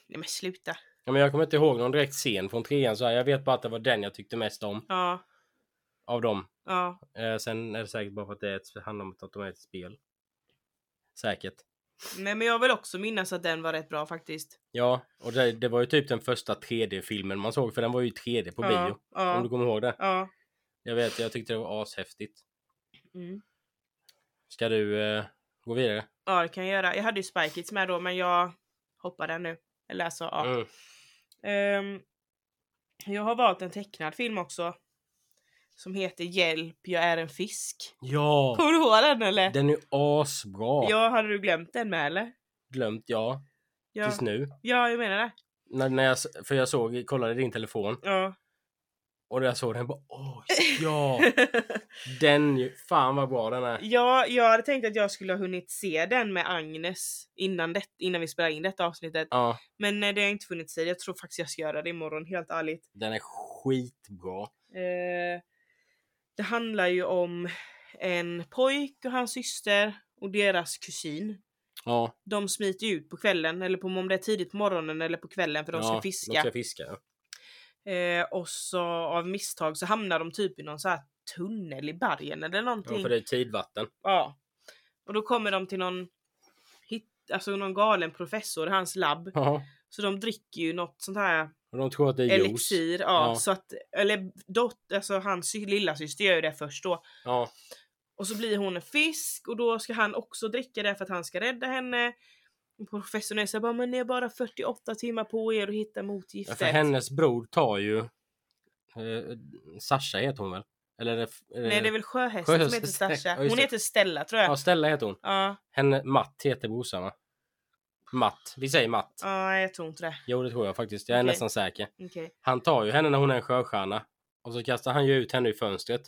S1: Nej men sluta.
S2: Ja, men jag kommer inte ihåg någon direkt scen från trean så här. Jag vet bara att det var den jag tyckte mest om
S1: Ja,
S2: av dem.
S1: ja.
S2: Eh, sen är det säkert bara för att det är ett, handlar om att de är ett spel. Säkert.
S1: Nej men jag vill också minnas att den var rätt bra faktiskt.
S2: Ja, och det, det var ju typ den första 3D-filmen man såg för den var ju i 3D på
S1: ja,
S2: bio. Om
S1: Ja.
S2: du kommer ihåg det.
S1: ja.
S2: Jag vet, jag tyckte det var ashäftigt.
S1: Mm.
S2: Ska du eh, gå vidare?
S1: ja, det kan jag göra. Jag hade ju Spike Kids med då men jag hoppar den nu. Eller alltså, ja.
S2: Mm.
S1: Ehm, jag har valt en tecknad film också. Som heter Hjälp, jag är en fisk.
S2: Ja!
S1: Kommer du ihåg den eller?
S2: Den är ju asbra!
S1: Ja, hade du glömt den med eller?
S2: Glömt ja,
S1: Ja,
S2: tills nu.
S1: ja jag menar det.
S2: När, när jag, s- för jag såg, kollade din telefon
S1: Ja.
S2: och jag såg den bara åh ja! Den ju, fan vad bra den är!
S1: Ja, jag hade tänkt att jag skulle ha hunnit se den med Agnes innan, det, innan vi spelade in detta avsnittet.
S2: Ja,
S1: Men eh, det har jag inte funnits tid. Jag tror faktiskt jag ska göra det imorgon, helt ärligt.
S2: den är skitbra.
S1: Eh, det handlar ju om en pojk och hans syster och deras kusin.
S2: Ja,
S1: De smiter ju ut på kvällen, eller på, om det är tidigt på morgonen eller på kvällen för de
S2: ja,
S1: ska fiska.
S2: De ska fiska ja.
S1: Eh, och så av misstag så hamnar de typ i någon så här tunnel i bergen eller någonting.
S2: ja, för det är tidvatten.
S1: Ja. Och då kommer de till någon, hit- alltså någon galen professor i hans labb.
S2: Ja,
S1: Så de dricker ju något sånt här
S2: och de tror att det är juice.
S1: elixir. Ja,
S2: Ja.
S1: Så att, eller dot, alltså hans sy- lilla syster gör ju det först då.
S2: Ja,
S1: Och så blir hon en fisk och då ska han också dricka det för att han ska rädda henne. Och professorn är såhär bara, men ni har bara 48 timmar på er att hitta
S2: ja,
S1: motgiftet.
S2: för hennes bror tar ju... Eh, Sasha heter hon väl? Eller är det, är
S1: Nej det är väl sjöhästen som heter
S2: Sjöhästen,
S1: Sasha.
S2: ja, just
S1: Hon
S2: det.
S1: heter Stella tror jag.
S2: Ja, Stella heter hon.
S1: Ja,
S2: Henne, Matt heter brorsan va? Matt. Vi säger Matt.
S1: ja jag tror inte det.
S2: Jo, det tror jag faktiskt. Jag är
S1: Okej.
S2: nästan säker.
S1: Okej.
S2: Han tar ju henne när hon är en sjöstjärna. Och så kastar han ju ut henne ur fönstret.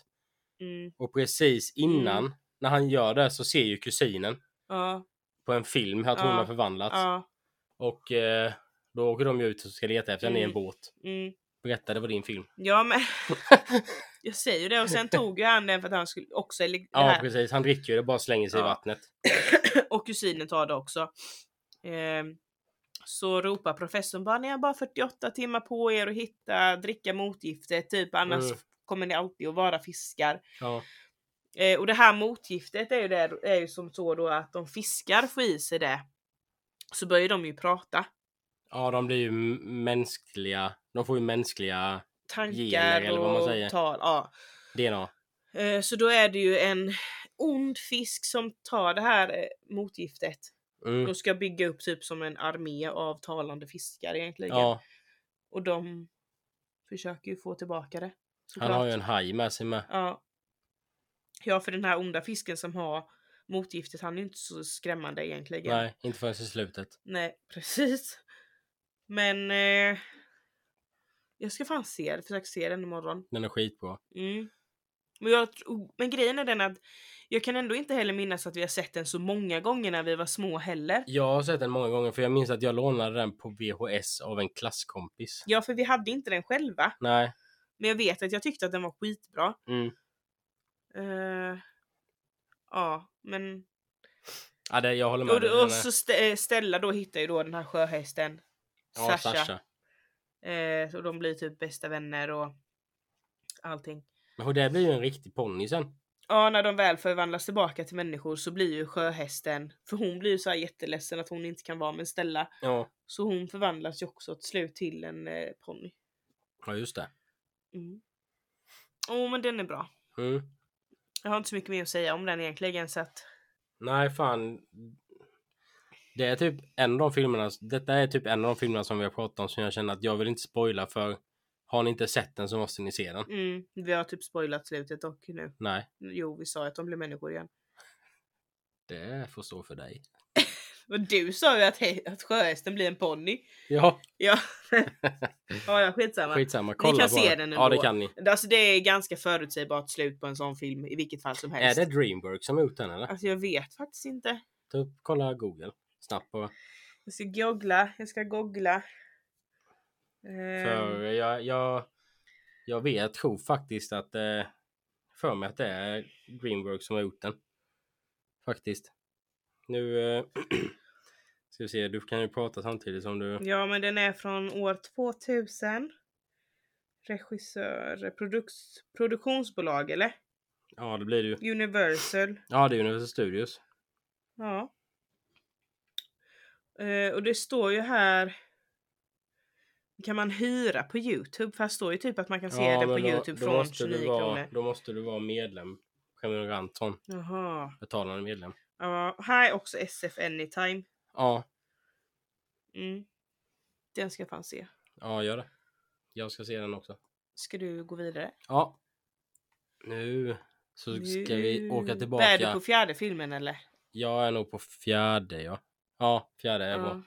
S1: Mm.
S2: Och precis innan, när han gör det, så ser ju kusinen
S1: Ja,
S2: på en film att hon
S1: Ja.
S2: har förvandlats.
S1: ja,
S2: Och eh, då åker de ju ut och ska leta efter henne i en
S1: Mm.
S2: båt.
S1: mm.
S2: Berätta, det var din film.
S1: Ja men jag säger ju det och sen tog ju han den för att han skulle också eller, det
S2: Ja,
S1: här.
S2: precis. Han dricker ju det, bara slänger sig i
S1: Ja.
S2: vattnet.
S1: och kusinen tar det också. Ehm, så ropar professorn bara ni har bara 48 timmar på er att hitta, dricka motgiftet typ annars
S2: Mm.
S1: kommer ni alltid att vara fiskar.
S2: Ja.
S1: Eh, och det här motgiftet är ju, det, är ju som så då att om fiskar får i sig det så börjar de ju prata.
S2: Ja, de blir ju m- mänskliga. De får ju mänskliga
S1: Tankar
S2: Gener, eller vad man
S1: och
S2: säger.
S1: tal. Ja.
S2: DNA.
S1: Eh, Så då är det ju en ond fisk som tar det här eh, motgiftet
S2: Mm.
S1: och ska bygga upp typ som en armé av talande fiskar egentligen.
S2: Ja,
S1: Och de försöker ju få tillbaka det.
S2: han
S1: såklart.
S2: har ju en haj med sig med.
S1: Ja. Ja, för den här onda fisken som har motgiftet, han är ju inte så skrämmande egentligen.
S2: Nej, inte förrän i slutet.
S1: Nej, precis. Men eh, jag ska fan se det, försöka se den imorgon.
S2: Den är skitbra.
S1: Mm. Men, jag, tro- men grejen är den att jag kan ändå inte heller minnas att vi har sett den så många gånger när vi var små heller.
S2: Jag har sett den många gånger för jag minns att jag lånade den på VHS av en klasskompis.
S1: Ja, för vi hade inte den själva.
S2: Nej.
S1: Men jag vet att jag tyckte att den var skitbra.
S2: Mm.
S1: Eh, ja, men...
S2: Ja, det, jag håller med. dig. Den
S1: Och,
S2: är-
S1: och så St- eh, Stella då hittar ju då den här sjöhästen.
S2: ja, Sasha.
S1: Eh, och de blir typ bästa vänner och allting.
S2: Men Och det blir ju en riktig ponny sen.
S1: Ja, när de väl förvandlas tillbaka till människor så blir ju sjöhästen, för hon blir ju så här jätteledsen att hon inte kan vara med Stella.
S2: Ja.
S1: Så hon förvandlas ju också till slut till en eh, ponny.
S2: Ja, just det.
S1: Mm. Åh, men den är bra.
S2: Mm.
S1: Jag har inte så mycket mer att säga om den egentligen så att
S2: Nej, fan. Det är typ en av de filmerna. Detta är typ en av de filmerna som vi har pratat om som jag känner att jag vill inte spoila för har ni inte sett den så måste ni se den.
S1: mm, vi har typ spoilat slutet och nu.
S2: Nej,
S1: Jo, vi sa ju att de blev människor igen.
S2: det får stå för dig.
S1: Och du sa ju att, hej, att sjöhästen blir en ponny.
S2: Ja,
S1: Ja, ja, ja skitsamma.
S2: skitsamma. Kolla
S1: kan
S2: på
S1: se den
S2: Ja,
S1: ändå.
S2: det kan ni.
S1: Alltså det är ganska förutsägbart slut på en sån film i vilket fall som
S2: Är
S1: helst.
S2: det Dreamworks som har gjort den eller?
S1: Alltså jag vet faktiskt inte.
S2: Ta upp, Typ kolla Google snabbt bara.
S1: Jag ska googla, jag ska googla. Ehm,
S2: För jag, jag, jag vet, tror faktiskt att eh, för mig att det är Dreamworks som har gjort den. Faktiskt. Nu eh, ska vi se, du kan ju prata samtidigt som du...
S1: Ja men den är från år 2000. Regissör, produks, produktionsbolag eller?
S2: Ja, det blir det ju.
S1: Universal.
S2: Ja, det är Universal Studios.
S1: Ja. Eh, och det står ju här kan man hyra på Youtube? För här står ju typ att man kan se
S2: ja,
S1: det på
S2: men då-
S1: Youtube
S2: då
S1: från
S2: måste du
S1: 29
S2: vara,
S1: kronor.
S2: Då måste du vara medlem. Prenumerant, sån
S1: Jaha.
S2: betalande medlem.
S1: Ja, här är också SF Anytime.
S2: Ja,
S1: Mm. Den ska jag fan se.
S2: ja, gör det. Jag ska se den också.
S1: Ska du gå vidare?
S2: Ja. Nu så ska vi åka
S1: Nu- Är
S2: tillbaka.
S1: du på fjärde filmen eller?
S2: Jag är nog på fjärde, ja. Ja, fjärde är bra.
S1: Oh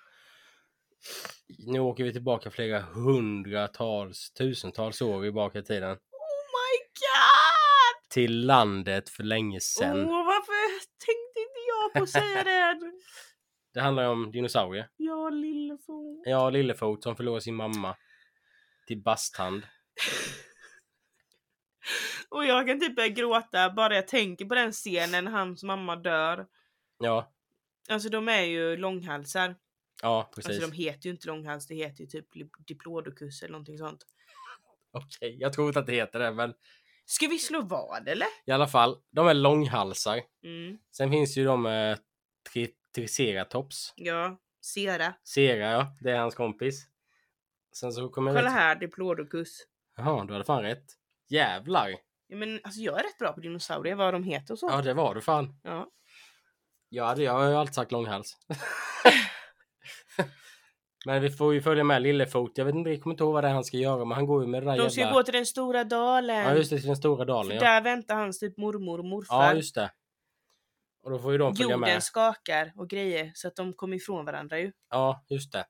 S2: Nu åker vi tillbaka flera hundratals, tusentals år tillbaka i tiden.
S1: Oh my god!
S2: Till landet för länge sedan.
S1: Åh, varför tänkte inte jag på att säga det?
S2: Det handlar ju om dinosaurier.
S1: Ja, lillefot.
S2: Ja, Lillefot som förlorar sin mamma. Till basthand.
S1: Och jag kan typ börja gråta bara jag tänker på den scenen när hans mamma dör.
S2: Ja,
S1: Alltså de är ju långhalsar.
S2: ja precis.
S1: Alltså de heter ju inte långhals, det heter ju typ li- diplodocus eller någonting sånt.
S2: Okej, jag tror inte att det heter det, men
S1: Ska vi slå vad eller?
S2: i alla fall. De är långhalsar.
S1: Mm,
S2: Sen finns ju de eh, tri- triceratops.
S1: ja. Sera.
S2: Sera, ja. Det är hans kompis. Sen så kommer jag
S1: Kolla
S2: inte-
S1: här, diplodocus.
S2: Jaha, du hade fan rätt. Jävlar!
S1: Ja, men alltså jag är rätt bra på dinosaurier, vad de heter och så.
S2: Ja, det var du fan.
S1: Ja.
S2: Ja, det, jag har ju alltid sagt långhals. men vi får ju följa med Lillefot. Jag vet inte, jag kommer inte ihåg vad det är han ska göra, men han går ju med det där
S1: De ska
S2: jävla...
S1: gå till den stora dalen.
S2: Ja, just det, till den stora
S1: För
S2: dalen. Ja.
S1: där väntar hans typ mormor och morfar.
S2: ja, just det. Och då får ju de följa
S1: Jorden
S2: med.
S1: skakar och grejer så att de kommer ifrån varandra ju.
S2: Ja, just det.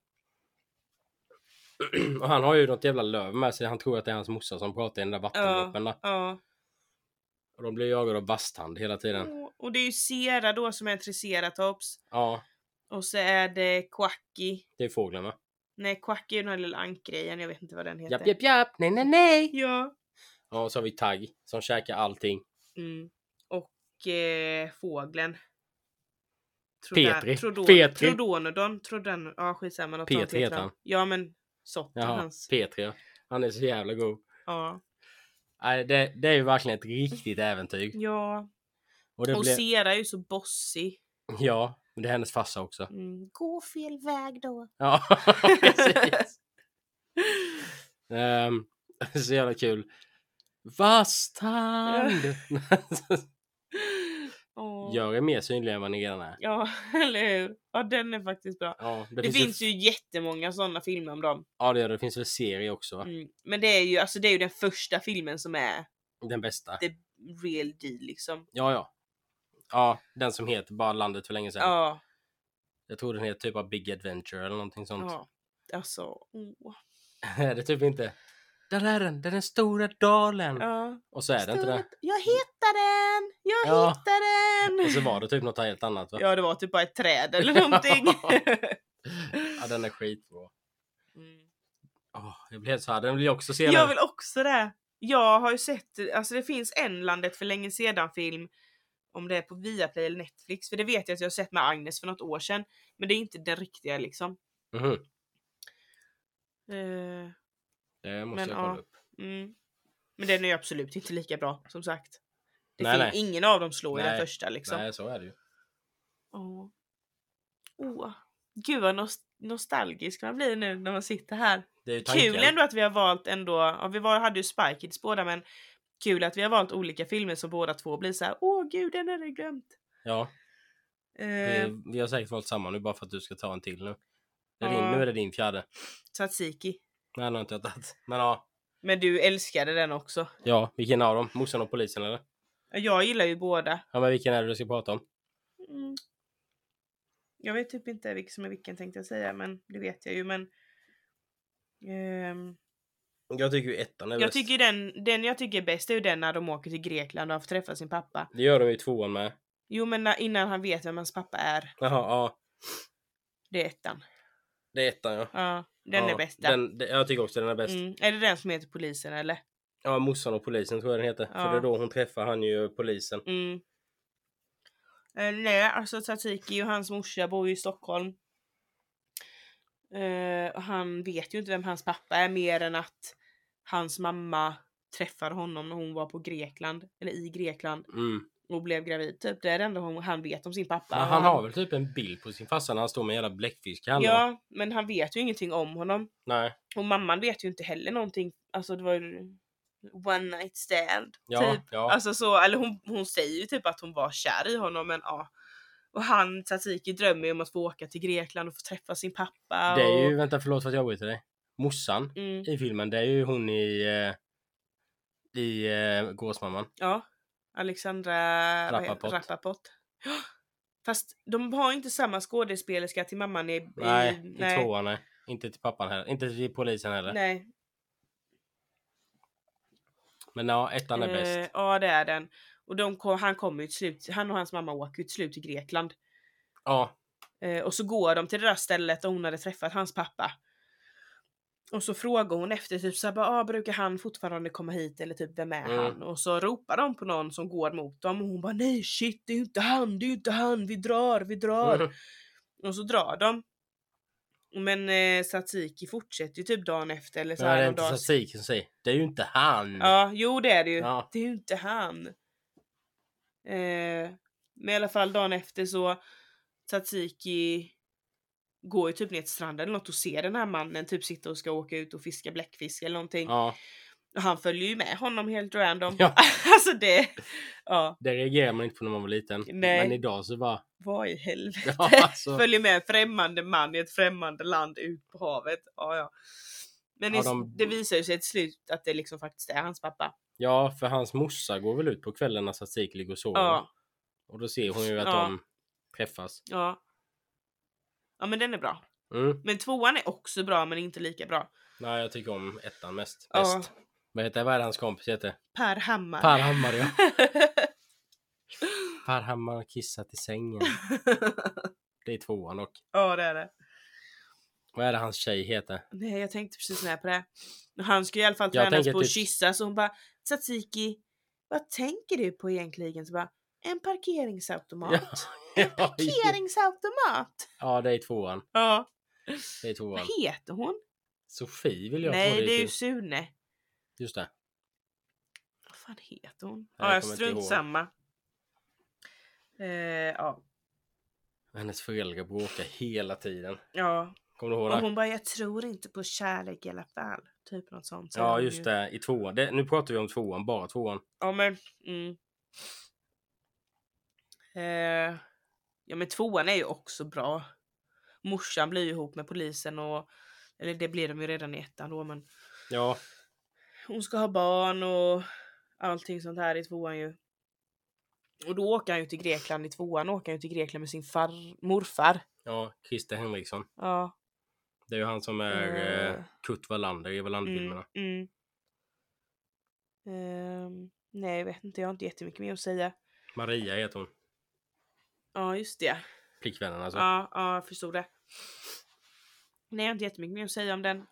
S2: Och han har ju något jävla löv med sig. Han tror att det är hans morsa som pratar i den där vattendroppen där.
S1: Ja.
S2: Och de blir jagade av vasthand hela tiden.
S1: Och- Och det är ju Sera då som är en triceratops.
S2: Ja,
S1: Och så är det Quacky.
S2: det är fågeln va?
S1: Nej, Quacky är ju den här lilla ankgrejen, jag vet inte vad den heter.
S2: Japp, japp, japp! Nej, nej, nej!
S1: Ja.
S2: Ja, och så har vi Tagg som käkar allting.
S1: Mm. Och eh, fågeln.
S2: Petri.
S1: Trodon,
S2: Petri.
S1: Trodonodon. Trodon, ja skitsamma. något sånt
S2: Petri heter han.
S1: Ja men sorten
S2: Jaha,
S1: hans.
S2: Petri ja. Han är så jävla god.
S1: Ja.
S2: Nej, det, det är ju verkligen ett riktigt äventyr.
S1: ja.
S2: Och det
S1: Och
S2: blev...
S1: Sera är ju så bossig.
S2: Ja. Men det är hennes farsa också.
S1: Mm. Gå fel väg då.
S2: Ja, precis. Ehm, så jävla kul. Vasstand!
S1: Åh.
S2: Gör er mer synlig än vad ni redan är.
S1: Ja, eller hur? Ja, den är faktiskt bra.
S2: Ja, det,
S1: Det,
S2: finns,
S1: finns,
S2: ju...
S1: ju jättemånga sådana filmer om dem.
S2: Ja, det, gör det. det finns väl serier också? va?
S1: Mm. Men det är, ju, alltså, det är ju den första filmen som är
S2: Den bästa.
S1: the real deal liksom.
S2: Ja, ja. Ja, den som heter bara landet för länge sedan.
S1: Ja,
S2: Jag tror den heter typ av Big Adventure eller någonting sånt.
S1: ja. Alltså, åh.
S2: Nej, det är typ inte. Där är den, där är den stora dalen.
S1: Ja.
S2: Och så Mm. är det inte det.
S1: Stora- Jag hittar den! Jag
S2: Ja.
S1: hittar den!
S2: Och så var det typ något helt annat va?
S1: Ja, det var typ bara ett träd eller någonting.
S2: Ja, den är skitbra.
S1: Mm.
S2: Åh, jag blir helt så här. Den vill jag också se.
S1: Jag
S2: den.
S1: vill också det. Jag har ju sett, alltså det finns en Landet för länge sedan film om det är på Viaplay eller Netflix, för det vet jag att jag har sett med Agnes för något år sedan. Men det är inte den riktiga liksom.
S2: Mhm.
S1: Eh,
S2: Det måste
S1: Men,
S2: jag kolla
S1: ja.
S2: upp.
S1: mm. Men den är ju absolut inte lika bra som sagt. Det
S2: Nej,
S1: finns
S2: nej.
S1: Ingen av dem slår ju den
S2: Nej.
S1: första liksom.
S2: Nej, så är det ju.
S1: Åh. Åh. Gud vad nos- nostalgisk man blir nu när man sitter här.
S2: Det är ju tanken.
S1: Kul ändå att vi har valt ändå, ja, vi var, hade ju Spy Kids båda men kul att vi har valt olika filmer som båda två blir så här: åh gud den hade jag glömt.
S2: Ja,
S1: Eh,
S2: vi, vi har säkert valt samma nu bara för att du ska ta en till nu. Det är
S1: Ja.
S2: din, nu är det din fjärde.
S1: Tsatsiki.
S2: Nej, den har inte jag tagit. Men ja.
S1: Men du älskade den också.
S2: Ja, vilken av dem? Morsan och polisen eller?
S1: Jag gillar ju båda.
S2: Ja, men vilken är det du ska prata om?
S1: Mm. Jag vet typ inte vilken som är vilken tänkte jag säga men det vet jag ju men ehm,
S2: Jag tycker ju ettan är
S1: jag tycker ju den, den jag tycker är bäst är ju den när de åker till Grekland och får träffa sin pappa.
S2: Det gör de ju i tvåan med.
S1: Jo men när, innan han vet vem hans pappa är.
S2: Jaha, ja.
S1: Det är ettan.
S2: Det är ettan ja.
S1: Ja, den
S2: ja,
S1: är bäst. där.
S2: Den, det- jag tycker också den är bäst.
S1: Mm. Är det den som heter polisen eller?
S2: Ja, morsan och polisen tror jag den heter.
S1: Ja.
S2: För det är då hon träffar han ju polisen.
S1: Mm. Eh, nej, alltså Tsatsiki och hans morsa bor ju i Stockholm. Eh, och han vet ju inte vem hans pappa är mer än att hans mamma träffade honom när hon var på Grekland, eller i Grekland,
S2: Mm.
S1: och blev gravid. Typ. Det är det enda hon, han vet om sin pappa.
S2: Men
S1: Och
S2: han har väl typ en bild på sin farsa när han står med en jävla bläckfisk i handen, va?
S1: Ja, men han vet ju ingenting om honom.
S2: Nej.
S1: Och mamman vet ju inte heller någonting. Alltså det var ju one night stand.
S2: Ja,
S1: typ.
S2: ja.
S1: Alltså så, eller hon, hon säger ju typ att hon var kär i honom men ja. Och han, Tsatsiki, drömmer ju om att få åka till Grekland och få träffa sin pappa.
S2: Det är
S1: och,
S2: ju, vänta förlåt för att jag avbryter dig. Morsan
S1: Mm,
S2: i filmen, det är ju hon i... Eh, I eh, Gåsmamman.
S1: ja. Alexandra vad heter-
S2: Rappaport.
S1: Rappaport. Ja, Fast de har inte samma skådespelerska till mamman i... i
S2: Nej, i
S1: nej,
S2: tvåan nej. Inte till pappan heller. Inte till polisen heller.
S1: nej.
S2: Men ja, ettan är
S1: Eh,
S2: bäst.
S1: ja, det är den. Och de kom, han kommer ju till slut, han och hans mamma åker ju till slut till Grekland.
S2: Ja,
S1: Eh, och så går de till det där stället där hon hade träffat hans pappa. Och så frågar hon efter typ såhär, bara, ah, brukar han fortfarande komma hit eller typ vem är
S2: Mm.
S1: han? Och så ropar de på någon som går mot dem och hon bara nej shit det är ju inte han, det är ju inte han, vi drar, vi drar.
S2: Mhm.
S1: Och så drar de. Men eh, Satsiki fortsätter ju typ dagen efter eller så
S2: men är
S1: här
S2: det
S1: någon
S2: inte
S1: dag.
S2: Sassik som säger Det är ju inte han!
S1: Ja, jo det är det ju.
S2: Ja.
S1: Det är ju inte han. Eh, men i alla fall dagen efter så Tsatsiki går ju typ ner till stranden eller något och ser den här mannen typ sitta och ska åka ut och fiska bläckfisk eller någonting.
S2: Ja,
S1: Och han följer ju med honom helt random.
S2: Ja.
S1: alltså det, ja,
S2: det reagerar man inte på när man var liten.
S1: Nej.
S2: Men idag så bara...
S1: vad i helvete.
S2: Ja, alltså,
S1: Följer med en främmande man i ett främmande land ut på havet. Ja, ja. Men
S2: Ja,
S1: i-
S2: de-
S1: det visar ju sig till slut att det liksom faktiskt är hans pappa.
S2: ja, för hans morsa går väl ut på kvällen när Sassik ligger och sover.
S1: Ja.
S2: Och då ser hon ju att
S1: Ja.
S2: de träffas.
S1: Ja. Ja men den är bra.
S2: Mm.
S1: Men tvåan är också bra men inte lika bra.
S2: Nej, jag tycker om ettan mest.
S1: Ja.
S2: Bäst. Vad heter vad är det hans kompis heter?
S1: Per Hammar.
S2: Per Hammar ja. Per Hammar har kissat i sängen. Det är tvåan och
S1: ja det är det.
S2: Vad är det hans tjej heter?
S1: Nej jag tänkte precis när på det. Han ska ju i alla fall
S2: Jag
S1: tränas
S2: tänker
S1: på att
S2: typ-
S1: kyssa så hon bara Tsatsiki, vad tänker du på egentligen? Så bara, en parkeringsautomat. En
S2: Ja,
S1: parkeringsautomat!
S2: ja, det är tvåan.
S1: Ja.
S2: Det är tvåan.
S1: Vad heter hon?
S2: Sofie vill jag tro
S1: Nej det är ju
S2: just...
S1: Sune.
S2: just det.
S1: Vad fan heter hon?
S2: jag
S1: Ja, jag
S2: kommer inte
S1: strunt
S2: ihåg.
S1: samma. Eh, ja.
S2: Hennes föräldrar bråkar hela tiden.
S1: Ja.
S2: Kommer du ihåg
S1: Och
S2: det?
S1: hon bara, jag tror inte på kärlek i alla fall. Typ något sånt. säger
S2: Ja
S1: hon
S2: just
S1: ju.
S2: det, i tvåan. Det, nu pratar vi om tvåan, bara tvåan.
S1: Ja men. Mm. Eh, ja men tvåan är ju också bra. Morsan blir ju ihop med polisen och eller det blir de ju redan i ettan då men
S2: Ja,
S1: hon ska ha barn och allting sånt här i tvåan ju. Och då åker han ju till Grekland i tvåan åker han ju till Grekland med sin far, morfar.
S2: ja Christer Henriksson.
S1: Ja.
S2: Det är ju han som är
S1: Eh.
S2: eh, Kurt Wallander i
S1: Mm,
S2: Wallander-filmerna.
S1: mm. Ehm, nej jag vet inte, jag har inte jättemycket mer att säga.
S2: Maria heter hon.
S1: Ja just det.
S2: Flickvännen alltså.
S1: Ja, ja, jag förstod det. Nej, jag har inte jättemycket mer att säga om den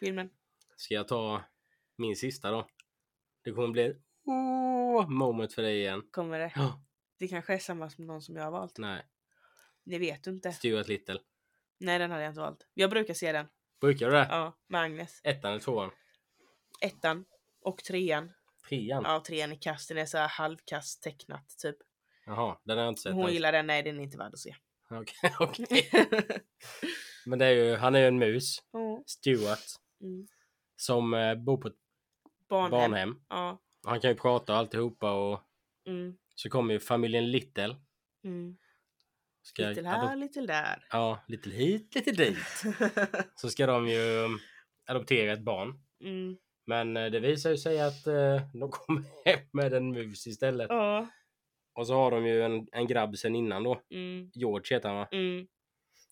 S1: filmen.
S2: Ska jag ta min sista då? Det kommer bli ett åh moment för dig igen.
S1: Kommer det?
S2: Ja,
S1: Det kanske är samma som någon som jag har valt.
S2: nej.
S1: Det vet du inte.
S2: Stuart Little.
S1: Nej, den hade jag inte valt. Jag brukar se den.
S2: Brukar du det?
S1: Ja, med Agnes.
S2: Ettan eller tvåan?
S1: Ettan och trean.
S2: Trean?
S1: Ja, trean i kast. Den är så här halvkast tecknat typ.
S2: Jaha, den har jag inte sett.
S1: Hon
S2: än.
S1: gillar den. Nej, den är inte värd att se.
S2: Okej, okej. Men det är ju, han är ju en mus.
S1: Ja,
S2: Stuart.
S1: mm.
S2: Som eh, bor på ett
S1: Barnhem.
S2: barnhem.
S1: Ja.
S2: Han kan ju prata och alltihopa och
S1: Mm.
S2: så kommer ju familjen Little.
S1: Mm.
S2: Ska
S1: Lite
S2: adop-
S1: här, lite där.
S2: Ja, Little hit, Little dit. Så ska de ju um, adoptera ett barn.
S1: mm.
S2: Men eh, det visar ju sig att eh, de kommer hem med en mus istället.
S1: Ja.
S2: Och så har de ju en, en grabb sen innan då.
S1: Mm.
S2: George heter han va?
S1: Mm.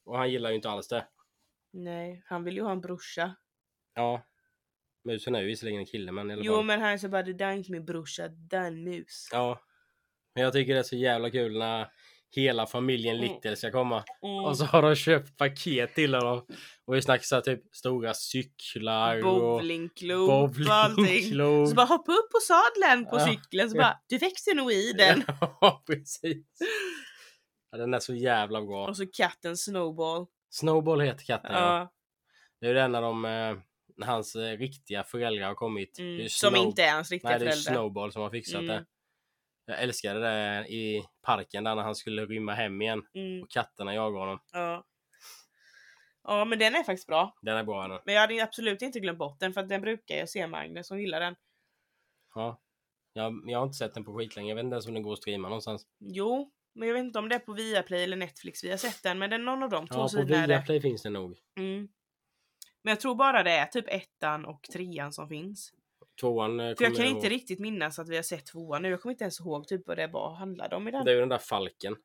S2: Och han gillar ju inte alls det.
S1: Nej, han vill ju ha en brorsa.
S2: Ja. Musen är ju visserligen en kille men i alla
S1: Jo
S2: fall.
S1: men han sa bara det där är inte min brorsa, det där är en mus.
S2: Ja. Men jag tycker det är så jävla kul när hela familjen
S1: Mm.
S2: Little ska komma.
S1: Mm.
S2: Och så har de köpt paket till honom. Och vi snackar så här typ stora cyklar och
S1: Bowlingklot och allting.
S2: bowlingklot.
S1: Så bara hoppa upp på sadeln på
S2: Ja.
S1: cykeln så bara du växer nog i den.
S2: Ja, precis. Ja, den är så jävla bra.
S1: Och så katten Snowball.
S2: Snowball heter katten. Ja.
S1: Ja.
S2: Det är den när de, eh, när hans eh, riktiga föräldrar har kommit. Det är
S1: Mm.
S2: ju
S1: Som
S2: Snow-
S1: inte är hans riktiga
S2: Nej, det är ju
S1: föräldrar.
S2: Snowball som har fixat
S1: Mm.
S2: det. Jag älskade det där i parken där när han skulle rymma hem igen.
S1: Mm.
S2: Och katterna jagade honom.
S1: Ja. ja men den är faktiskt bra.
S2: Den är bra den.
S1: Men jag hade absolut inte glömt bort den för att den brukar jag se Magnus som gillar den.
S2: Ja. Jag, jag har inte sett den på skitlänge. Jag vet inte ens om den går att streama någonstans.
S1: Jo, men jag vet inte om det är på Viaplay eller Netflix vi har sett den men det är någon av de två
S2: Ja, på
S1: sidorna är det.
S2: Viaplay finns den nog.
S1: Mm. Men jag tror bara det är typ ettan och trean som finns.
S2: Tvåan eh,
S1: För jag
S2: kommer
S1: kan
S2: ihåg.
S1: inte riktigt minnas att vi har sett tvåan nu. Jag kommer inte ens ihåg typ vad det var handlade om i den.
S2: Det är ju den där falken.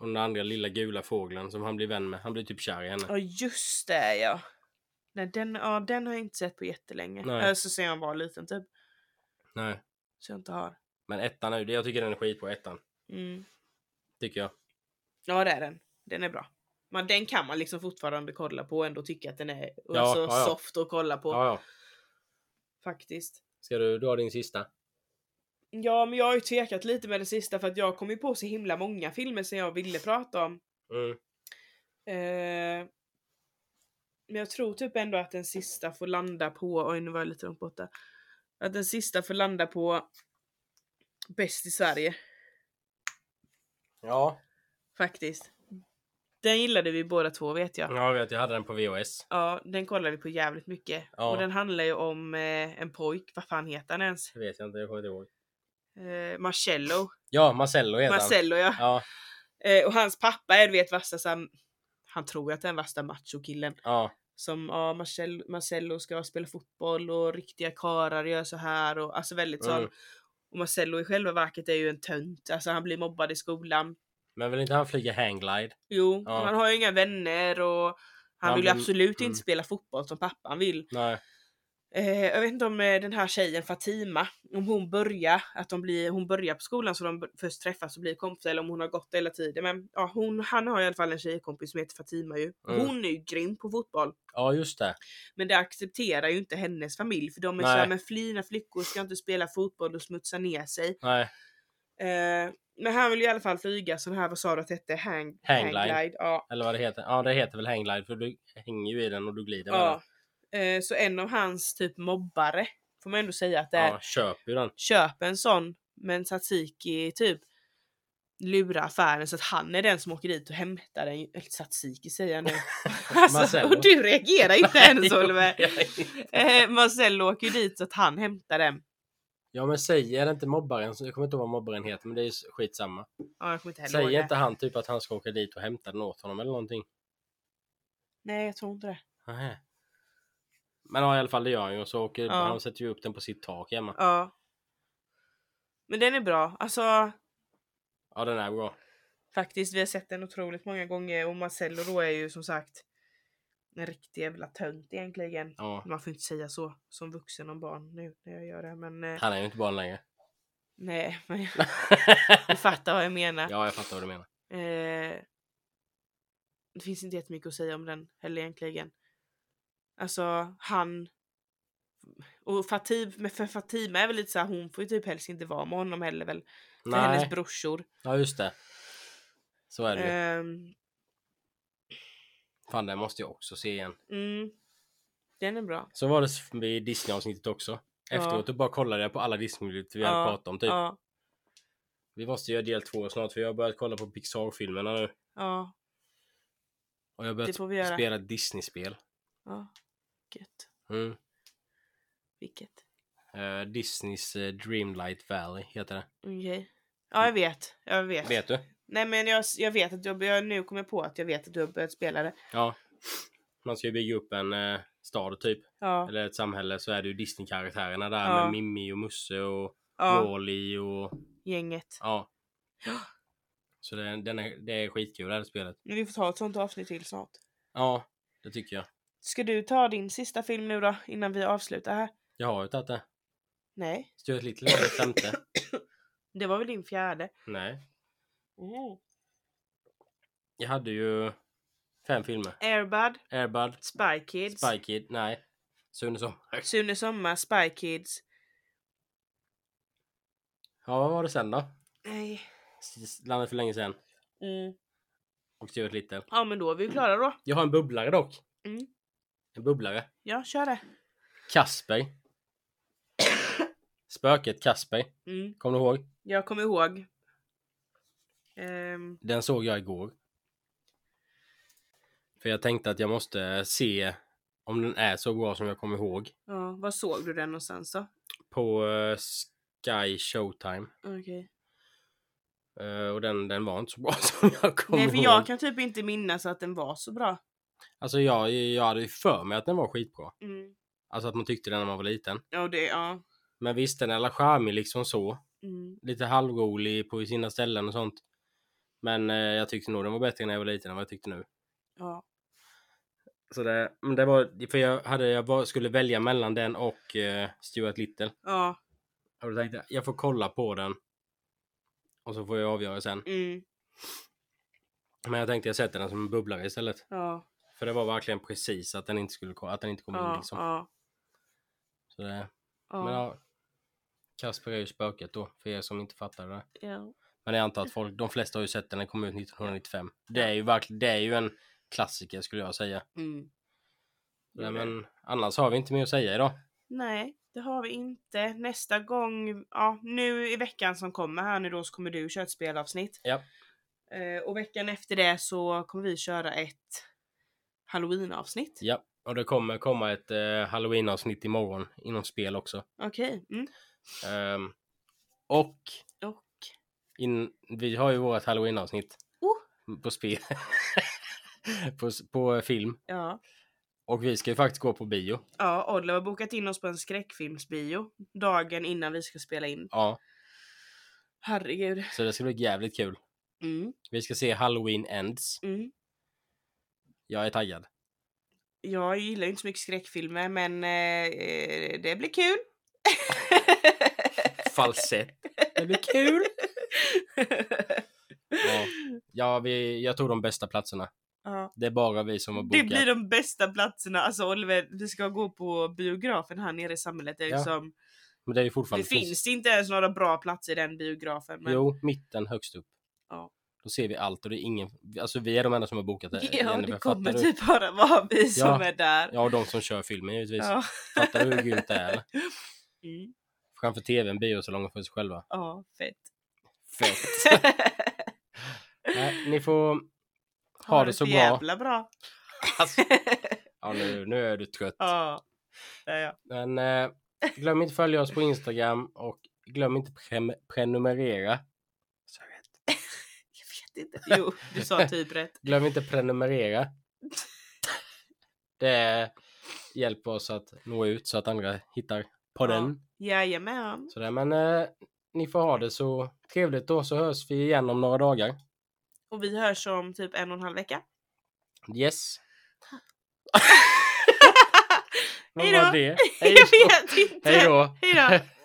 S2: Och den andra lilla gula fågeln som han blir vän med. Han blir typ kär i henne.
S1: Ja just det ja. Nej den, ja, den har jag inte sett på jättelänge.
S2: Nej.
S1: Nej. Så sen jag var liten typ.
S2: Nej.
S1: Så jag inte har.
S2: Men ettan är ju, jag tycker den är skit på ettan.
S1: Mm.
S2: Tycker jag.
S1: Ja det är den. Den är bra. Men den kan man liksom fortfarande kolla på och ändå tycka att den är
S2: Ja,
S1: alltså,
S2: ja, ja.
S1: soft att kolla på.
S2: Ja, ja.
S1: Faktiskt.
S2: Ska du dra din sista?
S1: Ja men jag har ju tvekat lite med den sista för att jag kom ju på så himla många filmer som jag ville prata om.
S2: Mm.
S1: Eh, men jag tror typ ändå att den sista får landa på, oj nu var jag lite långt borta. Att den sista får landa på Bäst i Sverige
S2: Ja.
S1: faktiskt. Den gillade vi båda två vet jag.
S2: Ja, jag vet. Jag hade den på VHS.
S1: Ja, den kollade vi på jävligt mycket.
S2: Ja.
S1: Och den handlar ju om eh, en pojk, vad fan heter han ens?
S2: Det vet jag inte. Jag kommer inte ihåg.
S1: Eh, Marcello.
S2: Ja, Marcello heter
S1: Marcello ja.
S2: han. Ja.
S1: Eh, och hans pappa är du vet värsta så här- han tror ju att det är den värsta machokillen.
S2: Ja.
S1: som ja, Marcel, Marcello ska spela fotboll och riktiga karar gör så här och alltså väldigt sån.
S2: Mm.
S1: Och Marcello i själva verket är ju en tönt, alltså han blir mobbad i skolan.
S2: Men vill inte han flyga hangglide?
S1: Jo,
S2: Ja.
S1: han har ju inga vänner och han
S2: Han
S1: vill ju
S2: blir-
S1: absolut
S2: mm.
S1: inte spela fotboll som pappan vill.
S2: Nej.
S1: Eh, jag vet inte om eh, den här tjejen Fatima, om hon börjar, att de blir, hon börjar på skolan så de b- först träffas och blir kompisar eller om hon har gått hela tiden. Men ja, hon, han har i alla fall en tjejkompis som heter Fatima ju.
S2: Mm.
S1: Hon är ju grym på fotboll.
S2: Ja, just det.
S1: Men det accepterar ju inte hennes familj för de är
S2: Nej.
S1: såhär, men flina flickor ska inte spela fotboll och smutsa ner sig.
S2: Nej.
S1: Eh, men han vill ju i alla fall flyga sån här, vad sa du att det hette? Hang,
S2: Hangglide.
S1: Ja.
S2: Eller vad det heter. Ja, det heter väl hangglide för du hänger ju i den och du glider med
S1: ja. Eh, så en av hans typ mobbare, får man ändå säga att det
S2: den.
S1: är,
S2: Ja, köp ju den.
S1: köp en sån med en tzatziki typ. lura affären så att han är den som åker dit och hämtar den. Eller Tsatsiki säger jag nu. alltså,
S2: Marcello.
S1: och du reagerar inte ens Oliver.
S2: Nej.
S1: Eh, Marcello åker ju dit så att han hämtar den.
S2: Ja men säger det inte mobbaren, så- jag kommer inte ihåg vad mobbaren heter men det är ju skitsamma.
S1: Ja, jag kommer inte heller ihåg
S2: Säger
S1: det.
S2: inte han typ att han ska åka dit och hämta den åt honom eller någonting?
S1: Nej, jag tror inte det.
S2: Nähä. Men ja, i alla fall det gör han ju och så åker
S1: Ja.
S2: han sätter ju upp den på sitt tak hemma. Ja,
S1: Ja. Men den är bra. Alltså
S2: den är bra.
S1: faktiskt, vi har sett den otroligt många gånger och Marcello då är ju som sagt en riktig jävla tönt egentligen.
S2: Ja.
S1: Man får inte säga så som vuxen om barn nu när jag gör det men eh,
S2: Han är ju inte barn längre.
S1: nej, men du fattar vad jag menar.
S2: ja, jag fattar vad du menar.
S1: Eh, det finns inte jättemycket att säga om den heller egentligen. Alltså han och Fatib, men för Fatima är väl lite så här, hon får ju typ helst inte vara med honom heller väl. För
S2: Nej,
S1: hennes brorsor.
S2: ja just det. Så är det ju.
S1: Ehm,
S2: Fan, den måste jag också se igen.
S1: mm, den är bra.
S2: Så var det i Disney-avsnittet också. Efteråt då bara kollade jag på alla Disney-klipp vi
S1: Ja,
S2: hade pratat om typ.
S1: Ja,
S2: Vi måste göra del två snart för jag har börjat kolla på Pixar-filmerna nu.
S1: ja,
S2: Och jag
S1: det
S2: har börjat
S1: får vi göra.
S2: spela Disney-spel.
S1: Ja. Gött.
S2: Mm.
S1: Vilket.
S2: Eh, Disneys eh, Dreamlight Valley heter det.
S1: Okej. Ja, jag vet. Jag vet.
S2: Vet du?
S1: Nej, men jag, jag vet att jag, jag nu kommer jag på att jag vet att du har börjat spela det.
S2: Ja. Man ska ju bygga upp en eh, stad typ.
S1: Ja,
S2: Eller ett samhälle så är det ju Disney-karaktärerna där
S1: Ja.
S2: med Mimmi och Musse och
S1: ja,
S2: Wall-E och
S1: gänget.
S2: ja. Så det, den är, det är skitkul det här spelet.
S1: Men vi får ta ett sånt avsnitt till snart.
S2: Ja, det tycker jag.
S1: Ska du ta din sista film nu då innan vi avslutar här?
S2: Jag har ju tagit det.
S1: Nej,
S2: Stuart Little var det femte.
S1: det var väl din fjärde? Mm.
S2: Nej. Jag hade ju fem filmer.
S1: Airbud,
S2: Airbud,
S1: Spy Kids,
S2: Spy Kid, nej. Sune Sommar.
S1: Sune Sommar, Spy Kids.
S2: Ja, vad var det sen då?
S1: Nej.
S2: S- Landade för länge sen.
S1: Mm.
S2: Och Stuart Little.
S1: Ja men då är vi klara då.
S2: Jag har en bubblare dock.
S1: Mm.
S2: En bubblare.
S1: Ja, kör det.
S2: Kasper. Spöket Kasper.
S1: Mm.
S2: Kommer du ihåg?
S1: Jag kommer ihåg. Ehm,
S2: Den såg jag igår. För jag tänkte att jag måste se om den är så bra som jag kommer ihåg.
S1: ja, var såg du den någonstans då?
S2: På eh, Sky Showtime.
S1: Okej.
S2: Eh, och den, den var inte så bra som jag kommer
S1: Nej för
S2: ihåg.
S1: jag kan typ inte minnas att den var så bra.
S2: Alltså jag, jag hade ju för mig att den var skitbra.
S1: Mm.
S2: Alltså att man tyckte den när man var liten.
S1: Ja det, ja.
S2: Men visst, den är alla charmig liksom så.
S1: Mm.
S2: Lite halvrolig på sina ställen och sånt. Men eh, jag tyckte nog den var bättre när jag var liten än vad jag tyckte nu.
S1: Ja.
S2: Så det, men det var, för jag, hade, jag var, skulle välja mellan den och eh, Stuart Little.
S1: Ja.
S2: Och då tänkte jag, jag får kolla på den. Och så får jag avgöra sen.
S1: Mm.
S2: Men jag tänkte jag sätter den som en bubblare istället.
S1: Ja.
S2: För det var verkligen precis att den inte skulle ko- att den inte kom in
S1: Ja.
S2: liksom.
S1: Ja.
S2: Så det, Men
S1: Ja.
S2: ja, Kasper är ju spöket då, för er som inte fattar det.
S1: Ja.
S2: Men jag antar att folk, de flesta har ju sett den, den kom ut 1995. Det är ju verkligen, det är ju en klassiker skulle jag säga.
S1: Mm.
S2: Nej, men annars har vi inte mer att säga idag.
S1: Nej, det har vi inte. Nästa gång, ja, nu i veckan som kommer här nu då så kommer du köra ett spelavsnitt.
S2: Ja.
S1: Eh, och veckan efter det så kommer vi köra ett halloween-avsnitt.
S2: Ja, och det kommer komma ett eh, halloween-avsnitt imorgon inom spel också.
S1: Okej. Mm.
S2: Ehm, och
S1: Och
S2: in, vi har ju vårt halloween-avsnitt på spel. på, s- på film.
S1: ja.
S2: Och vi ska ju faktiskt gå på bio.
S1: ja, Oliver har bokat in oss på en skräckfilmsbio dagen innan vi ska spela in.
S2: Ja,
S1: Herregud.
S2: så det ska bli jävligt kul.
S1: Mm.
S2: Vi ska se Halloween Ends.
S1: Mm.
S2: Jag är taggad.
S1: Jag gillar ju inte så mycket skräckfilmer men eh, det blir kul.
S2: Falsett. Det blir kul.
S1: ja.
S2: Ja. Ja, vi, jag tog de bästa platserna. Det är bara vi som har bokat.
S1: Det blir de bästa platserna. Alltså Oliver, vi ska gå på biografen här nere i samhället. Det, är
S2: Ja,
S1: liksom,
S2: Men det är ju
S1: det
S2: fortfarande...
S1: finns inte ens några bra platser i den biografen. Men...
S2: Jo, mitten högst upp.
S1: Ja.
S2: Då ser vi allt och det är ingen... Alltså vi är de enda som har bokat det.
S1: ja,
S2: Jennifer,
S1: det
S2: fattar
S1: kommer
S2: du?
S1: typ bara vara vi som
S2: Ja.
S1: är där.
S2: Ja, och de som kör filmen givetvis.
S1: Ja.
S2: Fattar du hur grymt det är? eller?
S1: Mm,
S2: Framför tvn, biosalongen för sig själva.
S1: ja, fett.
S2: Fett. Nej, ni får... Ha det så bra.
S1: jävla bra.
S2: Alltså, ja, nu, nu är du trött.
S1: ja. Ja, ja.
S2: Men eh, glöm inte följa oss på Instagram och glöm inte prem- prenumerera. Så rätt.
S1: Jag vet inte. Jo, du sa typ rätt.
S2: Glöm inte prenumerera. Det hjälper oss att nå ut så att andra hittar podden.
S1: Jajamän.
S2: Så där, men eh, ni får ha det så trevligt då så hörs vi igen om några dagar.
S1: Och vi hörs om typ en och en halv vecka.
S2: Yes. Vad
S1: Hej då.
S2: var det?
S1: Jag vet inte.
S2: Hej då.
S1: Hej då.